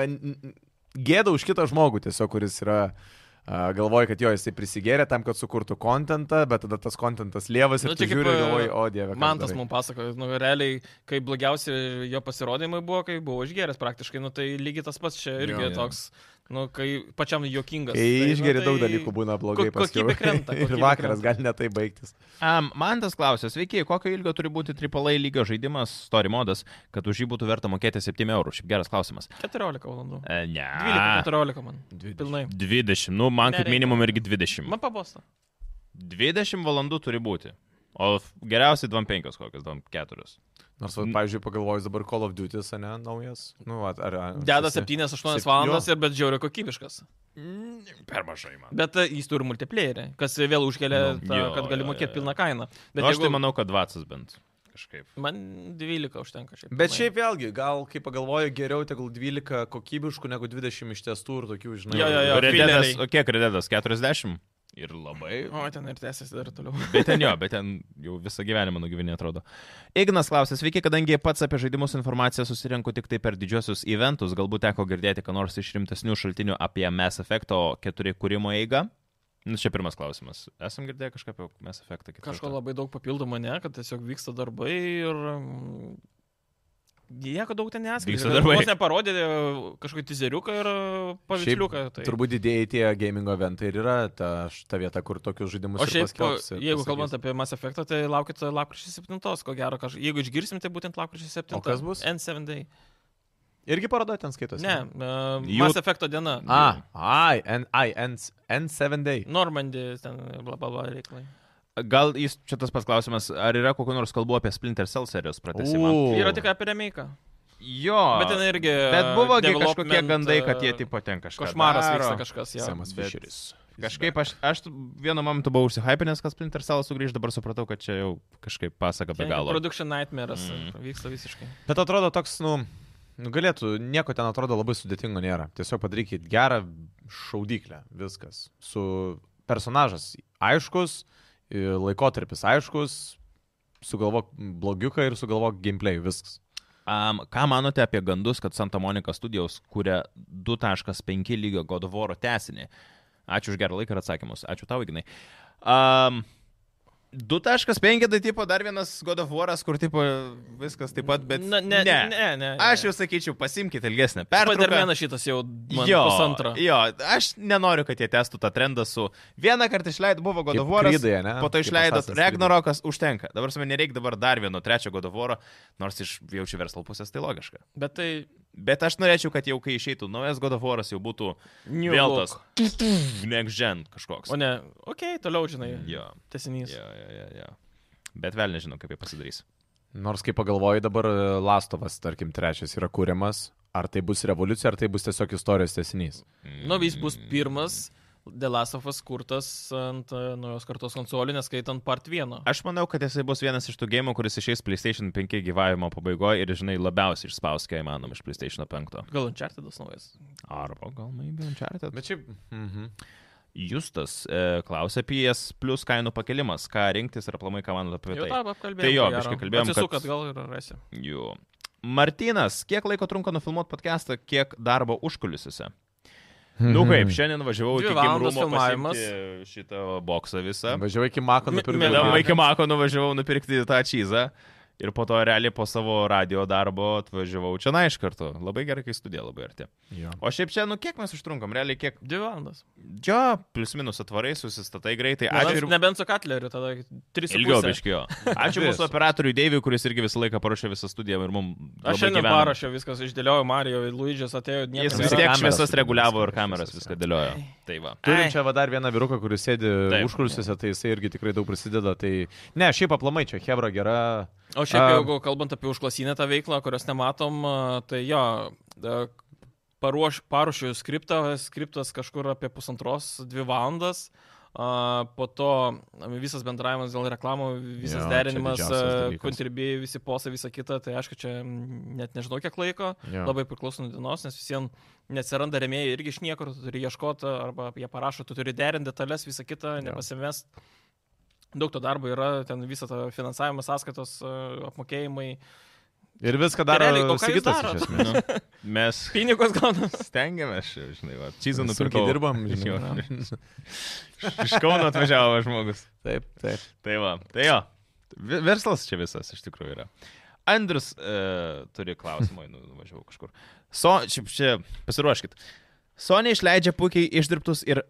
n- n- gėda už kitą žmogų tiesiog, kuris yra... a, Galvoji, kad jo jisai prisigėrė tam, kad sukurtų kontentą, bet tada tas kontentas lievas ir Nu, tu čia kaip, žiūri ir galvoji, e, o dieve. ką Man tas darai." mums pasakojo, nu, realiai, kai blogiausi jo pasirodymai buvo, kai buvo išgeręs praktiškai, nu, tai lygiai tas pats čia irgi Jo, jo, jo. toks, nu, kai pačiam juokingas. Kai tai, išgeri nu, daug dalykų būna blogai ko- kokybė paskui. krenta, Ir kokybė vakaras krenta. gali netai baigtis. Um, man tas klausimas, sveiki, kokio ilgio turi būti AAA lygio žaidimas, story modas, kad už jį būtų verta mokėti 7 eurų? Šiaip geras klausimas. 14 valandų. E, ne. 12-14 man. Pilnai. 20, nu man kaip Nereikia. minimum irgi 20. Man pabosta. 20 valandų turi būti. O f- geriausiai 25 kokias, 24. Nors, va, pavyzdžiui, pagalvojus dabar Call of Duty, ne, naujas. Nu, va, ar, ar, Deda šeši- 7-8 sep- valandas jo. ir bet žiauriai kokybiškas. Per mažai man. Bet e, jis turi multiplayerį, kas vėl užkelia, Nu, tą, jo, kad gali jo, jo, mokėti jo. pilną kainą. Bet Bet nu, aš jeigu... tai man... manau, kad 20 bent kažkaip. man 12 užtenka šiaip. Bet pilnai. šiaip vėlgi, gal kaip pagalvoju, geriau tegul 12 kokybiškų negu 20 iš testų ir tokių, žinai. Jo, jo, jo. Rededas, fileriai. o kiek rededas? 40? Ir labai. O, ten ir tęsiasi dar toliau. Bet ten jo, bet ten jau visą gyvenimą nugyvenė atrodo. Ignas klausė, sveiki, kadangi pats apie žaidimus informaciją susirenku tik tai per didžiosius eventus, galbūt teko girdėti, ką nors iš rimtesnių šaltinių apie Mass Effect 4 kūrimo eigą. Na, nu, čia pirmas klausimas. Esam girdėję kažką apie Mass Effect 4? Kažko labai daug papildomų ne, kad tiesiog vyksta darbai ir... mm, Nieko daug ten neskaitė. Vyksta darbai. Jis neparodė e, kažkokį tizeriuką ir e, paveiksliuką. Tai. Turbūt didėjai tie gamingo eventai ir yra ta, ta vieta, kur tokius žaidimus O šiaip, po- paskelbs. ir jeigu pasakys. kalbant apie Mass Effectą, tai laukit lapkričio 7, ko gero, kaž... jeigu išgirsim, tai būtent lapkričio 7. O kas bus? N7 Day. Irgi parodo ten skaitosi. Ne, uh, Jų- Mass Effecto diena. A, ai, N, ai, N, N7 Day. Normandija, ten bla bla bla reikalai. Gal jis čia tas pats klausimas, ar yra kokiu nors kalbu apie Splinter Cell serijos pratesimą? U. Yra tik apie remake'ą. Jo. Bet ten irgi. Bet e, buvo gi development, kažkokie gandai, kad jie e, tipo ten kažkas. Košmaras vyksta kažkas, jo. Semas bet- Fisheris. Kažkaip aš, aš vienu momentu buvau užsihypinęs, kad Splinter Cell sugrįž, dabar supratau, kad čia jau kažkaip pasaka be Ten galo. Production Nightmares Mm. mm. vyksta visiškai. Bet atrodo toks, nu, nu, galėtų, nieko ten atrodo labai sudėtingo nėra. Tiesiog padarykit gerą šaudyklę, viskas. Su personažas aiškus, i, laikotarpis aiškus, sugalvok blogiuką ir sugalvok gameplay, viskas. Um, ką manote apie gandus, kad Santa Monica Studios kūrė 2.5 lygio God of War tesinį? Ačiū už gerą laiką ir atsakymus. Ačiū tau, Ignai. Um, 2.5 tai tipo dar vienas God of War'as, kur tipo viskas taip pat, bet... Na, ne, ne, ne, ne. Aš jau sakyčiau, pasimkite ilgesnę pertrauką. Padarmenas šitas jau man pusantrą. Jo, aš nenoriu, kad jie testų tą trendą su... Vieną kartą išleido buvo Kaip Godovoras, Creedai, ane? po to Kaip išleido Assassin's Creedai. Ragnarokas, užtenka. Dabar man nereikia dabar dar vieno trečio Godovoro, nors iš jaučiu verslo pusės tai logiška. Bet tai. Bet aš norėčiau, kad jau kai išeitų naujas Godovoras, jau būtų New vėl look. tas next gen kažkoks. O ne, okei, okay, toliau žinai. Jo, Tesinys. jo, jo, jo, jo. Bet vėl nežinau, kaip jie pasidarys. Nors kaip pagalvoju, dabar e, Lastovas, tarkim, trečias yra Mhm. Mm. kūriamas. Ar tai bus revoliucija, ar tai bus tiesiog istorijos tesinys? Nu, jis bus pirmas Delasafas kurtas ant e, naujos kartos konsolių, neskaitant part 1. Aš manau, kad jisai bus vienas iš tų gėjimų, kuris išeis PlayStation 5 gyvavimo pabaigoje ir, žinai, labiausiai išspaus, kiek įmanoma, iš PlayStation 5. Gal Unchartedas naujas? Arba gal, maybe, Uncharted. Bet šiaip. Mhm. Justas e, klausė apie jas, plus kainų pakelimas, ką rinktis ir aplamai, ką manot apie Jau tai. tą apkalbėjome. Tai jo, biškį kalbėjom, kad- Atsisuk, kad gal ir rasi. Jų. Martinas, kiek laiko trunka nufilmuoti podcastą, kiek darbo užkulisiuose? Mhm. Nu kaip, šiandien važiavau Dvi iki valandos gimrumo filmavimas. pasiimti šitą boksą visą. Važiavai iki Mako, Mi- nupirkau. mielam Vėliau Maką. iki Mako nuvažiavau nupirkti tą čyzą ir po to realiai po savo radio darbo atvažiavau čia na iš karto. Labai gerai, kai studija labai arti. Jo. O šiaip čia, nu kiek mes užtrunkam, realiai kiek... Dvi valandas. Džio, plius minus atvarai, susistatai greitai. Nebent, Ačiū ir... nebent su Katleriu, tada 3 Ilgiau biškio. Ačiū Vis. mūsų operatoriui Deiviui, kuris irgi visą laiką parašė visą studiją ir mums... Aš šiandien parašiau viskas, išdėliau Mario, Luidžias atėjo, Jis niekas Kameras. vis tiek Kameras šviesas turi, reguliavo ir viskas, kameras viskas, viską dėliojo. Tai va. Turim čia va dar vieną vyruką, kuris sėdi Taip. užkulsiuose, tai jisai irgi tikrai daug prisideda. Tai ne, šiaip aplamai čia Hebra gera. O A. šiaip jau kalbant apie užklasinę tą veiklą, kurios nematom, a, tai jo, a, paruoš, paruošiu skriptą, skriptas kažkur apie pusantros, dvi valandas, a, po to visas bendravimas dėl reklamų, Jo, visas jo, čia derinimas, didžiausias dalykas. kontribi, visi posai, visa kita, tai aišku, čia mm, net nežinau kiek laiko, Jo. labai priklauso nuo dienos, nes visiems neatsiranda remėjai irgi iš niekur, tu turi ieškoti, arba jie parašo, tu turi derinti detalės, visą kitą, Jo. nepasimest. Daug to darbo yra, ten visą tą finansavimą, sąskaitos, e, apmokėjimai. Ir viską daro Realiai, o ką jūs Sigitas iš darot? esmės. Nu, Mes Pinigus Tai gaunam. stengiamės, čia, žinai, va. Čyzą Sunkiai nupirkau. dirbam, Jo. žinai. Iš Kauno atvažiavo žmogus. Taip, taip. Tai va, tai jo. Vi- Verslas čia visas iš tikrųjų yra. Andrius e, turi klausimą, nu, nuvažiavau kažkur. So, čia, čia pasiruoškit. Sony išleidžia puikiai išdirbtus ir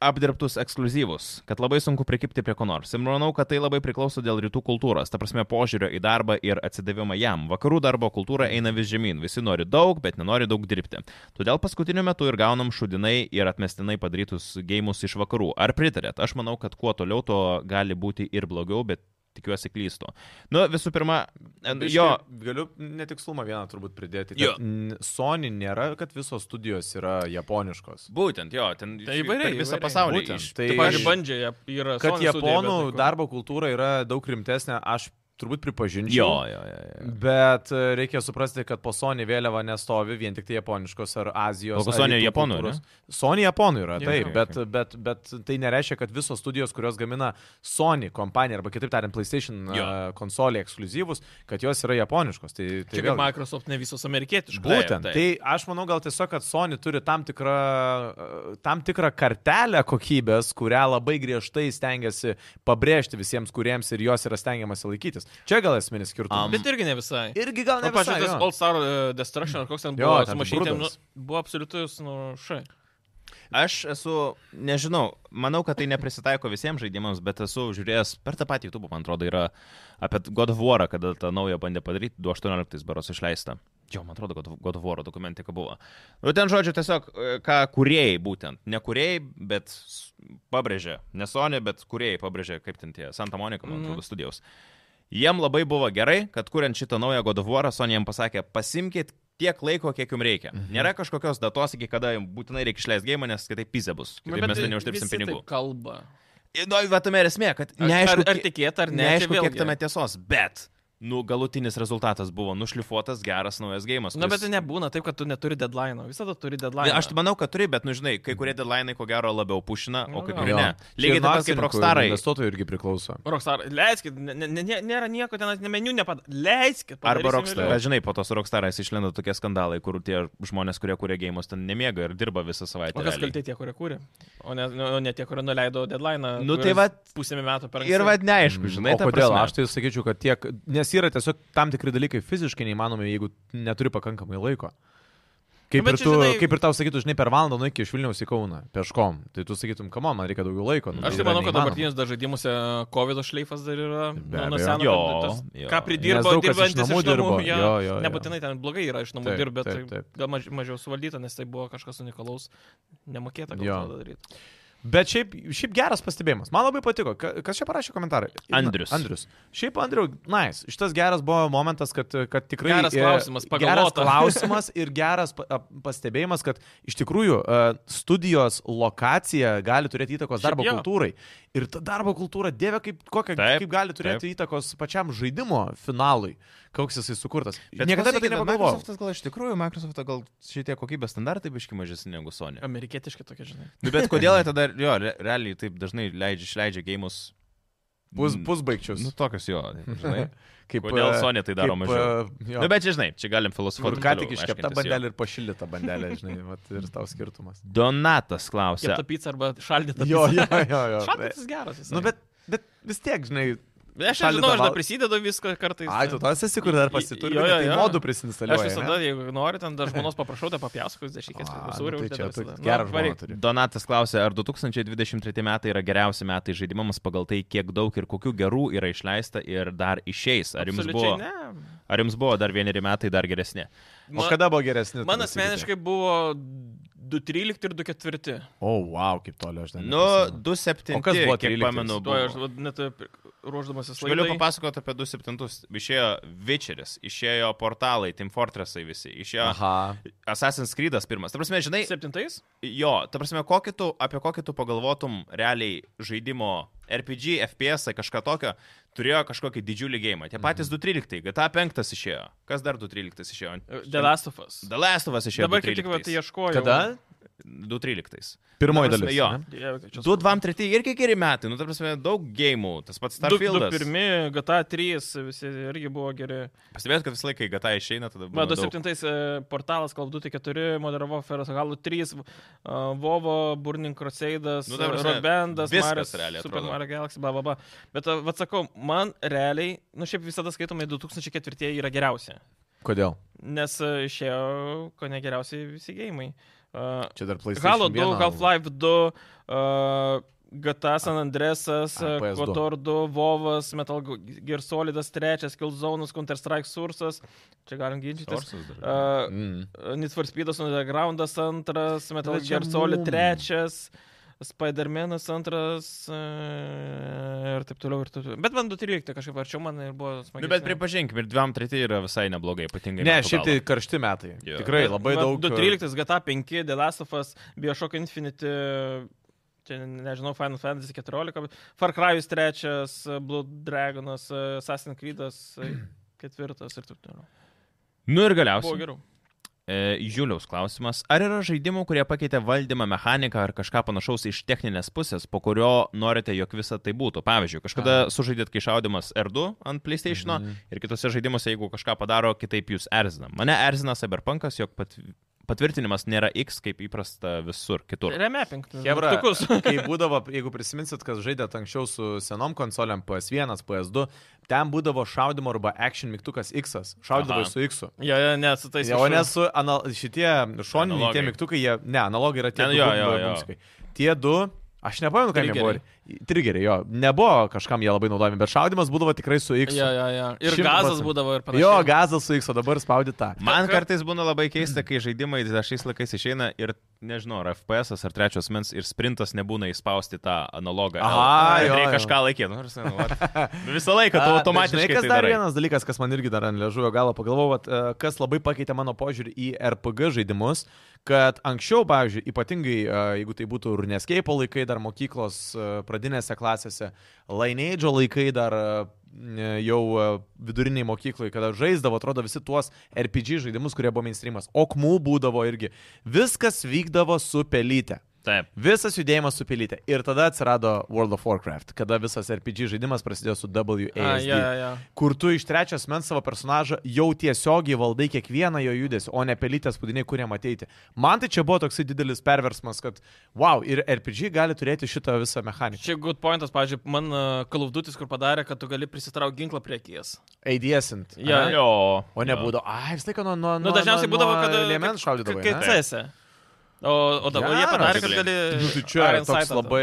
apdirbtus ekskluzyvus, kad labai sunku prikipti prie ko nors. Ir manau, kad tai labai priklauso dėl rytų kultūros, ta prasme požiūrio į darbą ir atsidavimą jam. Vakarų darbo kultūra eina vis žemyn, visi nori daug, bet nenori daug dirbti. Todėl paskutiniu metu ir gaunam šudinai ir atmestinai padarytus gėjimus iš vakarų. Ar pritarėt? Aš manau, kad kuo toliau, to gali būti ir blogiau, bet tikiuosi klystu. Nu, visų pirma, en- Biškį jo, Galiu netikslumą vieną turbūt pridėti. Jo. kad n- Sony nėra, kad visos studijos yra japoniškas. Būtent, jo, ten Tai įvairiai, per visą įvairiai. pasaulį. Būtent, iš- tai- Tai pavyzdžiui, bandžiai yra. Kad Sony studija, japonų bet tai kur. darbo kultūra yra daug rimtesnė, aš turbūt pripažinčiau. Jo, jo, jo. jo. Bet e, reikia suprasti, kad po Sony vėliava nestovi vien tik tai japoniškos ar azijos. O ko ar Sony rytų japonų, kultūros. Sony japonų yra, Jo, taip, jo, bet, bet, bet tai nereiškia, kad visos studijos, kurios gamina Sony kompaniją, arba kitaip tariant, PlayStation Jo. e, konsolį ekskluzyvus, kad jos yra japoniškos. Tai, tai Čia vėlgi- kaip Microsoft ne visos amerikietiškos. Būtent. taip. Tai aš manau gal tiesiog, kad Sony turi tam tikrą, e, tam tikrą kartelę kokybės, kurią labai griežtai stengiasi pabrėžti visiems kuriems ir jos yra stengiamasi laikytis. Čia gal esminis skirtumas. Am. Bet tai irgi ne visai. Irgi gal ne Na, visai. pažiūrėjau, Nu, tas jo. All Star e, Destruction, ar koks ten Jo, buvo, ten su mašytėm, nu, brudas. buvo absoliutus, nu, šai. Aš esu, nežinau, manau, kad tai neprisitaiko visiems žaidimams, bet esu žiūrėjęs per tą patį YouTube, man atrodo, yra apie God of War, kada tą naują bandė padaryti, 2018 baros išleista. Jo, man atrodo, God of- God of War dokumentika buvo. Nu, ten žodžiu, tiesiog, e, ką kuriejai būtent, ne kuriejai, bet s- pabrėžė, ne Sony, bet kuriejai pabrėžė, kaip ten tie Santa Monica, Mhm. man atrodo, studijos. Jiem labai buvo gerai, kad kuriant šitą naują God of War, Sony jiem pasakė, pasimkit tiek laiko, kiek jums reikia. Mhm. Nėra kažkokios datos, iki kada jums būtinai reikia išleisti gėjimą, nes kitaip pizė bus. Kitaip mes tai ten neuždirbsim pinigų. Kalba. Ir, Nu, va tame ir esmė, kad Ar, neaišku, ar, ar tikėt, ar ne. čia neaišku kiek vėlgi. tame tiesos, bet, nu, galutinis rezultatas buvo nušlifuotas geras naujas gėjimas. Na, bet tai nebūna taip, kad tu neturi deadline. Visada turi deadline. Ne, aš tai manau, kad turi, bet, nu, žinai, kai kurie deadline ko gero labiau pušina, o Nu, kai jo. kurie Jo. ne. Lygiai Čia ir taip pat kaip nuo akcininkų ir Rockstarai. Investuotojų irgi priklauso. Rockstar, leiskit, ne, ne, ne, nėra nieko ten, ne meniu nepadarė. Leiskit. Arba padarysim Rockstar. vėliau. Bet žinai, po tos Rockstarais išlenda tokie skandalai, kur tie žmonės, kurie kuria gėjimus, ten nemiega ir dirba visą savaitę. O kas realiai. kalti tie, kurie kūrė? O ne, nu, ne tie, kurie nuleido deadline. Nu, tai vat- Pusėmi metų per Ir vad neaišku, Žinai, Mm. žinai, o kodėl? Aš tai sakyčiau, kad tiek, nes yra tiesiog tam tikri dalykai fiziškai neįmanomi, jeigu neturi pakankamai laiko. Kaip, bet ir čia, tu, žinai... žinai- kaip ir tau sakytų, žinai, per valandą nuėk iš Vilniaus į Kauną, peškom. Tai tu sakytum, kam man reikia daugiau laiko. Nu, Aš tai yra manau, kad neįmanoma. dabartinis dar žaidimuose COVID šleifas dar yra. Be Nu, nuo abejo. seno, Jo, kad tas, jo. ką Nes pridirbo, daug kas iš dirbantis namų iš namų. dirbo. jo. Jo, jo, jo. Nebūtinai ten blogai yra iš namų Taip, dirbę, taip, tai taip. gal maž, mažiau suvaldyta, nes tai buvo kažkas unikalaus, nemokėta gal Jo. to daryti. Bet šiaip, šiaip geras pastebėjimas. Man labai patiko. Ka- Kas čia parašė komentarą? Andrius. Na, Andrius. Šiaip, Andriu, nice. Šitas geras buvo momentas, kad, kad tikrai... Geras e, klausimas, Geras pagalvota. klausimas ir geras pa- ap- pastebėjimas, kad iš tikrųjų e, studijos lokacija gali turėti įtakos Šiaip darbo jo. kultūrai. Ir ta darbo kultūra, dieve, kaip, kokią, Taip, kaip gali turėti įtakos pačiam žaidimo finalui, koks jisai sukurtas. Bet niekada apie tai klausykit, nepagalvojau. Microsoft'as gal iš tikrųjų, Microsoft'o gal šitie kokybės standartai biški mažesni negu Sony. Amerikietiški tokie, žinai. Nu, bet kodėl jie tada, jo, re- realiai taip dažnai leidžia, išleidžia gėjimus. Pus, pusbaigčius. Nu, tokius jo, žinai. Kaip, Kodėl e, Sony tai daro kaip, mažiau? e, jo. Nu, bet čia, žinai, čia galim Kur filosofuoti. ką toliau, tik iškepta aiškintis, jo. bandelė ir pašildyta bandelė, žinai, vat, ir tau skirtumas. Donatas klausia. Kieta pica arba šaldyta pica. Jo, jo, jo. jo. Šaldytas geras. Jis. Nu, bet, bet vis tiek, žinai. aš šaldytą žinau, aš dar val- prisidedu viską kartais. Ai, tu tas esi, kur dar pasituri, Tai Jo, jo, tai jo. modų Aš prisinstaliuoji. visada, jeigu noriu, ten dar žmonos paprašau, tai papjaskos dešikės, A, nu sūrių. tai čia uždedu tu visada. Nu, gerą žmoną varyk. turi. Donatas klausia, ar 2023 metai yra geriausi metai žaidimams pagal tai, kiek daug ir kokių gerų yra išleista ir dar išeis. Ar jums, Absoliučiai buvo, ne. ar jums buvo dar vieneri metai dar geresni? O kada buvo geresnis? Man asmeniškai buvo 2.13 ir 2.4. O, oh, wow, kaip toli aš ten. Nu, neprisimenu. 2-7. O kas buvo kiek 13? pamenu, Tuo aš buvo. vat net e, ruoždamasis Aš galiu laidai. papasakoti apie 2-7. Išėjo Witcheris, išėjo portalai, Team Fortressai visi, išėjo Aha. Aha. Assassin's Creed'as pirmas. Ta prasme, žinai, Septintais? jo, ta prasme, kokį tu, apie kokį tu pagalvotum realiai žaidimo RPG, FPS, ai tai kažką tokio, turėjo kažkokį didžiulį gėjimą. Tie Mhm. patys 2-13, GTA 5 išėjo. Kas dar 2-13 išėjo? E, The Last of Us. The Last of Us išėjo. Dabar kaip tik tai vat 2.13. ieškojau. Kada? 2-13. Pirmoji Ta prasme, dalis. jo. ne? Dieve, kaip čia 2-2-3 irgi geri metai, nu, ta prasme, daug gėjimų, tas pats Starfieldas. Du, du pirmi, GTA 3, visi irgi buvo geri. Pastebėt, kad visą laiką, kai GTA išeina, tada... Va, būna daug. 27 e, portalas Call of Duty 4, moderavo Feras Galų 3, e, Vovo, Burning Crusades, Nu, nu, ta prasme, Rodbendas, viskas Marius, realiai Super atrodo. Mario Galaxy, bla, bla, bla. Bet, e, va, sakau, man realiai, nu šiaip visada skaitomai 2004 yra geriausia, Kodėl? nes e, išėjo, ko ne geriausiai visi gėjimai. Uh, Čia dar plaistas. Halo 2, Half-Life 2, uh, GTA San Andresas, A, PS2. Kotor 2, Vovas, Metal Gear Solidas 3, Killzone, Counter-Strike Sursas, čia galim ginčytis. Sources dar. Uh, Mm. Need for Speedas Undergroundas antras, Metal Bet čia Gear Solid mum. trečias, Spider-Man'as antras uh, ir taip toliau ir taip toliau. Bet man 2.13 kažkaip arčiau man ir buvo smagu. Nu, bet pripažinkim, ir 2-3 yra visai neblogai, ypatingai. Ne, metų šiaip tai galo. karšti metai. Jo. Tikrai labai daug. e, 2.13, GTA 5, The Last of Us, Bioshock Infinity, čia nežinau, Final Fantasy 14, bet Far Cry'us 3, Blood Dragonas, e, Assassin's Creed'as 4 ir taip toliau. Nu ir Buvo galiausiai. geriau. E, Juliaus klausimas. Ar yra žaidimų, kurie pakeitė valdymą, mechaniką ar kažką panašaus iš techninės pusės, po kurio norite, jog visa tai būtų? Pavyzdžiui, kažkada sužaidėt, kai šaudimas R2 ant PlayStation Mhm. mm -hmm. ir kitose žaidimuose, jeigu kažką padaro, kitaip jūs erzina. Mane erzina Cyberpunkas, jog pat, patvirtinimas nėra X kaip įprasta visur kitur. Remapping. Hebra, mygtukus. kai būdavo, jeigu prisiminsit, kas žaidėt anksčiau su senom konsoliam PS1, PS2, ten būdavo šaudimo arba action mygtukas X. Šaudavo Aha. Tai su X. -u. Jo, jo, ne, su tais. Ja, o ne su anal... šitie šoniniai, tie Analogai. mygtukai, jie, ne, analogai yra tie Ne, du. jo, bum- jo, jo. bumsikai. Tie du, aš nepamenu, kam jie buvo. Trigeriai. Trigeriai, jo, nebuvo kažkam jie labai naudojami, bet šaudimas būdavo tikrai su X. Ja, ja, ja. Ir Šimtu gazas procentų. būdavo ir panašiai. Jo, gazas su X, o dabar spaudi tą. Man Ka- kartais būna labai keista, kai žaidimai dar šiais laikais išeina ir, nežinau, ar FPS ar trečios mens ir sprintas nebūna įspausti tą analogą. Aha, jo, reikia jo. kažką laikyti. Nu, ar sen, vat. Visą laiką tu A, bet automatiškai. Žinai, kas tai dar darai. vienas dalykas, kas man irgi dar ant liežuvio galo pagalvojot, kas labai pakeitė mano požiūrį į RPG žaidimus, kad anksčiau, pavyzdžiui, ypatingai e, jeigu tai būtų Runescape laikai, dar mokyklos e, pradinėse klasėse, Lineage laikai dar e, jau e, viduriniai mokyklai, kada žaisdavo, atrodo, visi tuos RPG žaidimus, kurie buvo mainstreamas. Okmų būdavo irgi. Viskas vykdavo su pelyte. Taip. Visas judėjimas supilyti. Ir tada atsirado World of Warcraft, kada visas RPG žaidimas prasidėjo su WASD. A, ja, ja, ja. Kur tu iš trečios mens savo personažą jau tiesiogiai valdai kiekvieną jo judesį, o ne pelytės pudiniai, kurie ateiti. Man tai čia buvo toksai didelis perversmas, kad wow, ir RPG gali turėti šitą visą mechaniką. Čia good pointas, pavyzdžiui, man kalvdutis, kur padarė, kad tu gali prisitraukti ginklą prie akies. ADSint. Jo, ane? Jo. O nebūdavo. Ai, vis laiką nuo... Nu, Nu, dažniausiai būdavo, kad... Liemens šaudydavo. Kaip CS. O, E. o dabar jie Geras. padarė, kad gali... Tai čia Iron toks Sight labai...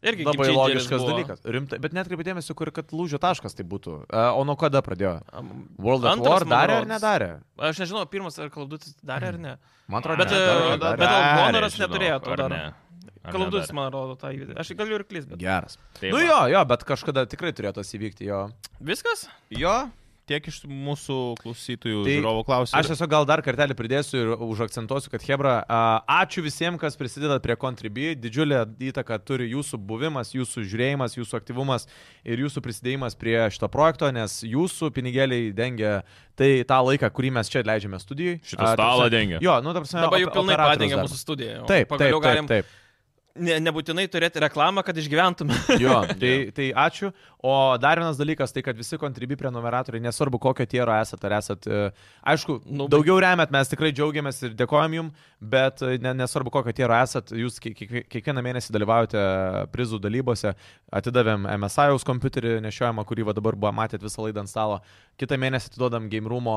Irgi Labai game changeris logiškas buvo. dalykas. Rimtai, bet net kaip dėmesio, kur kad lūžio taškas tai būtų. E, O nuo kada pradėjo? Am, World of Antras, War man darė ar rodos. nedarė? Aš nežinau, pirmas ar kalvdutis darė ar ne. Mm. Man atrodo, Bet, ne, e, darė, bet darė. Al Gonoras žinok, neturėjo to ar dar. ne? ar Kalabdus, nedarė? man atrodo, tą įvykį. Aš galiu ir klys, bet. Geras. Tai nu va. jo, jo, bet kažkada tikrai turėjo tas įvykti jo. Viskas? Jo, tiek iš mūsų klausytojų tai Tai žiūrovų klausimų. Aš tiesiog gal dar kartelį pridėsiu ir užakcentuosiu, kad Hebra, a, ačiū visiems, kas prisidedat prie Contribui. Didžiulę įtaką turi jūsų buvimas, jūsų žiūrėjimas, jūsų aktyvumas ir jūsų prisidėjimas prie šito projekto, nes jūsų pinigėliai dengia tai tą laiką, kurį mes čia leidžiame studijai. Šitą stalą dengia. Jo, nu, tarsi, Dabar jau pilnai padengia mūsų studiją. jau. Taip, pagaliau taip, galim taip, taip. Ne, nebūtinai turėti reklamą, kad išgyventume. Jo, tai, tai ačiū. O dar vienas dalykas, tai kad visi kontribi prenumeratoriai, nesvarbu kokio tiero esate, ar esate, aišku, Nu, nu, bet- daugiau remet, mes tikrai džiaugiamės ir dėkojam jum, bet e, ne, nesvarbu kokio tiero esate, jūs kiek- kiek- kiekvieną mėnesį dalyvaujate prizų dalybose, atidavėm MSI'aus kompiuterį nešiojamą, kurį va dabar buvo matėt visą laidą ant stalo, kitą mėnesį atidodam Game Room'o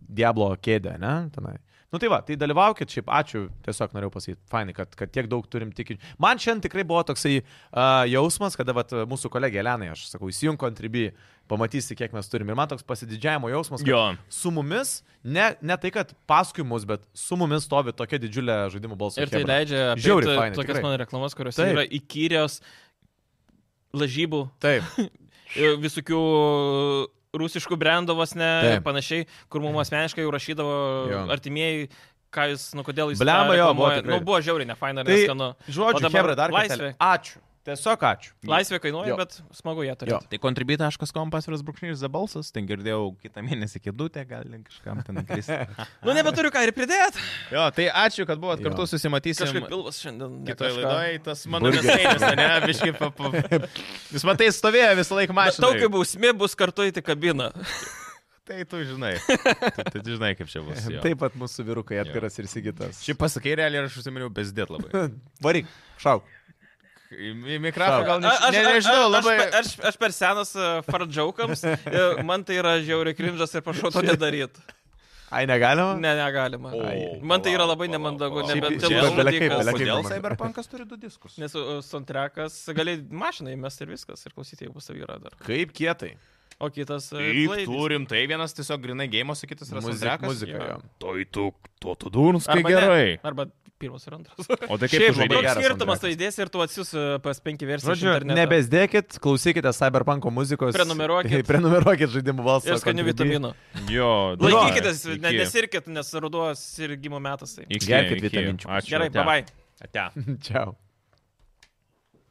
Diablo kėdę, ne? Tenai. Nu tai va, tai dalyvaukit, šiaip ačiū, tiesiog norėjau pasakyti, fainai, kad, kad tiek daug turim tikinčių. Man šiandien tikrai buvo toksai uh, jausmas, kada vat, mūsų kolegė Elenai, aš sakau, įsijung kontribį, pamatysi, kiek mes turim. Ir man toks pasididžiavimo jausmas, kad Jo. su mumis, ne, ne tai, kad paskui mus, bet su mumis stovi tokia didžiulė žaidimų balsų. Ir tai chebra. leidžia Žiauriai apeit, fainai, tokias tikrai. mano reklamas, kurios Taip. yra įkyrios lažybų, Taip, e, visokių rusiškų brendovos ne ir Taip. panašiai, kur mums asmeniškai jau rašydavo Jo. artimieji, ką jis, nu kodėl jis... Blemba, jo, buvo buvo, tikrai. nu, buvo žiauriai, ne faina, Tai- neskanu. O žodžiu, dabar Hebra dar laisvė. kartą. Ačiū. Tiesiog ačiū. Laisvė kainuoja, Jo. bet smagu ją turėti. Tai contribui.com pasviras brūkšnys za balsas, ten girdėjau kitą mėnesį kėdutę, gal kažkam ten kristi. Nu, nebeturiu ką ir pridėti. jo, tai ačiū, kad buvot Jo. kartu, susimatysim Kažkaip pilvas šiandien. ne kitoje kažką. laidoje. Tas mano Burgeris. nesėdės, ne, biškai papap. Jūs matai, stovėjo visą laiką Bet mašiną. tau kaip bausmė bus kartu į kabiną. Tai tu žinai. tu, tu, tu žinai, kaip čia bus. Jo. Taip pat mūsų vyrukai atviras ir sigitas. Šiaip pasakai realiai ir aš užsiminiau bezdėt labai. Varyk, šauk. Į mikrofoną gal A- ne, nežinau, aš- labai. Aš, aš, aš per senas e, faradžiaukams, man tai yra žiauriai krimžas ir prašau to nedaryti. Ai, negalima? Ne, negalima. O, Man tai yra palauk, labai palauk, nemandagu, palauk. Šiaip- nebent ten šiaip nužudykas. belekai, belekai. Kodėl man- Cyberpunkas turi du diskus? Nes sontrekas gali mašiną įmesti ir viskas, ir klausyti, jeigu savy yra dar. Kaip kietai. O kitas... e, Taip, playlist. turim, tai vienas tiesiog grinai gėjimas, o kitas yra Muzika. soundtrackas. muzika Jo. jo. Toj tu, tuo tu durns, Arba kai ne, gerai. Arba pirmas ir antras. O tai Šiaip labai kaip geras žaidėjai? Koks skirtumas soundtrackas. tai dės ir tu atsius PS5 versiją. iš Žodžiu, interneto. nebesdėkit, klausykite Cyberpunk muzikos. Prenumeruokit. Prenumeruokit žaidimų balsą. Ir skanių vitaminų. Jo, Laikykitės, ne- nesirkit, nes ruduos ir gimo metas. Tai. э, Gerkit vitaminčių. Ačiū. Gerai, ate. bye bye. Ate. Čiau.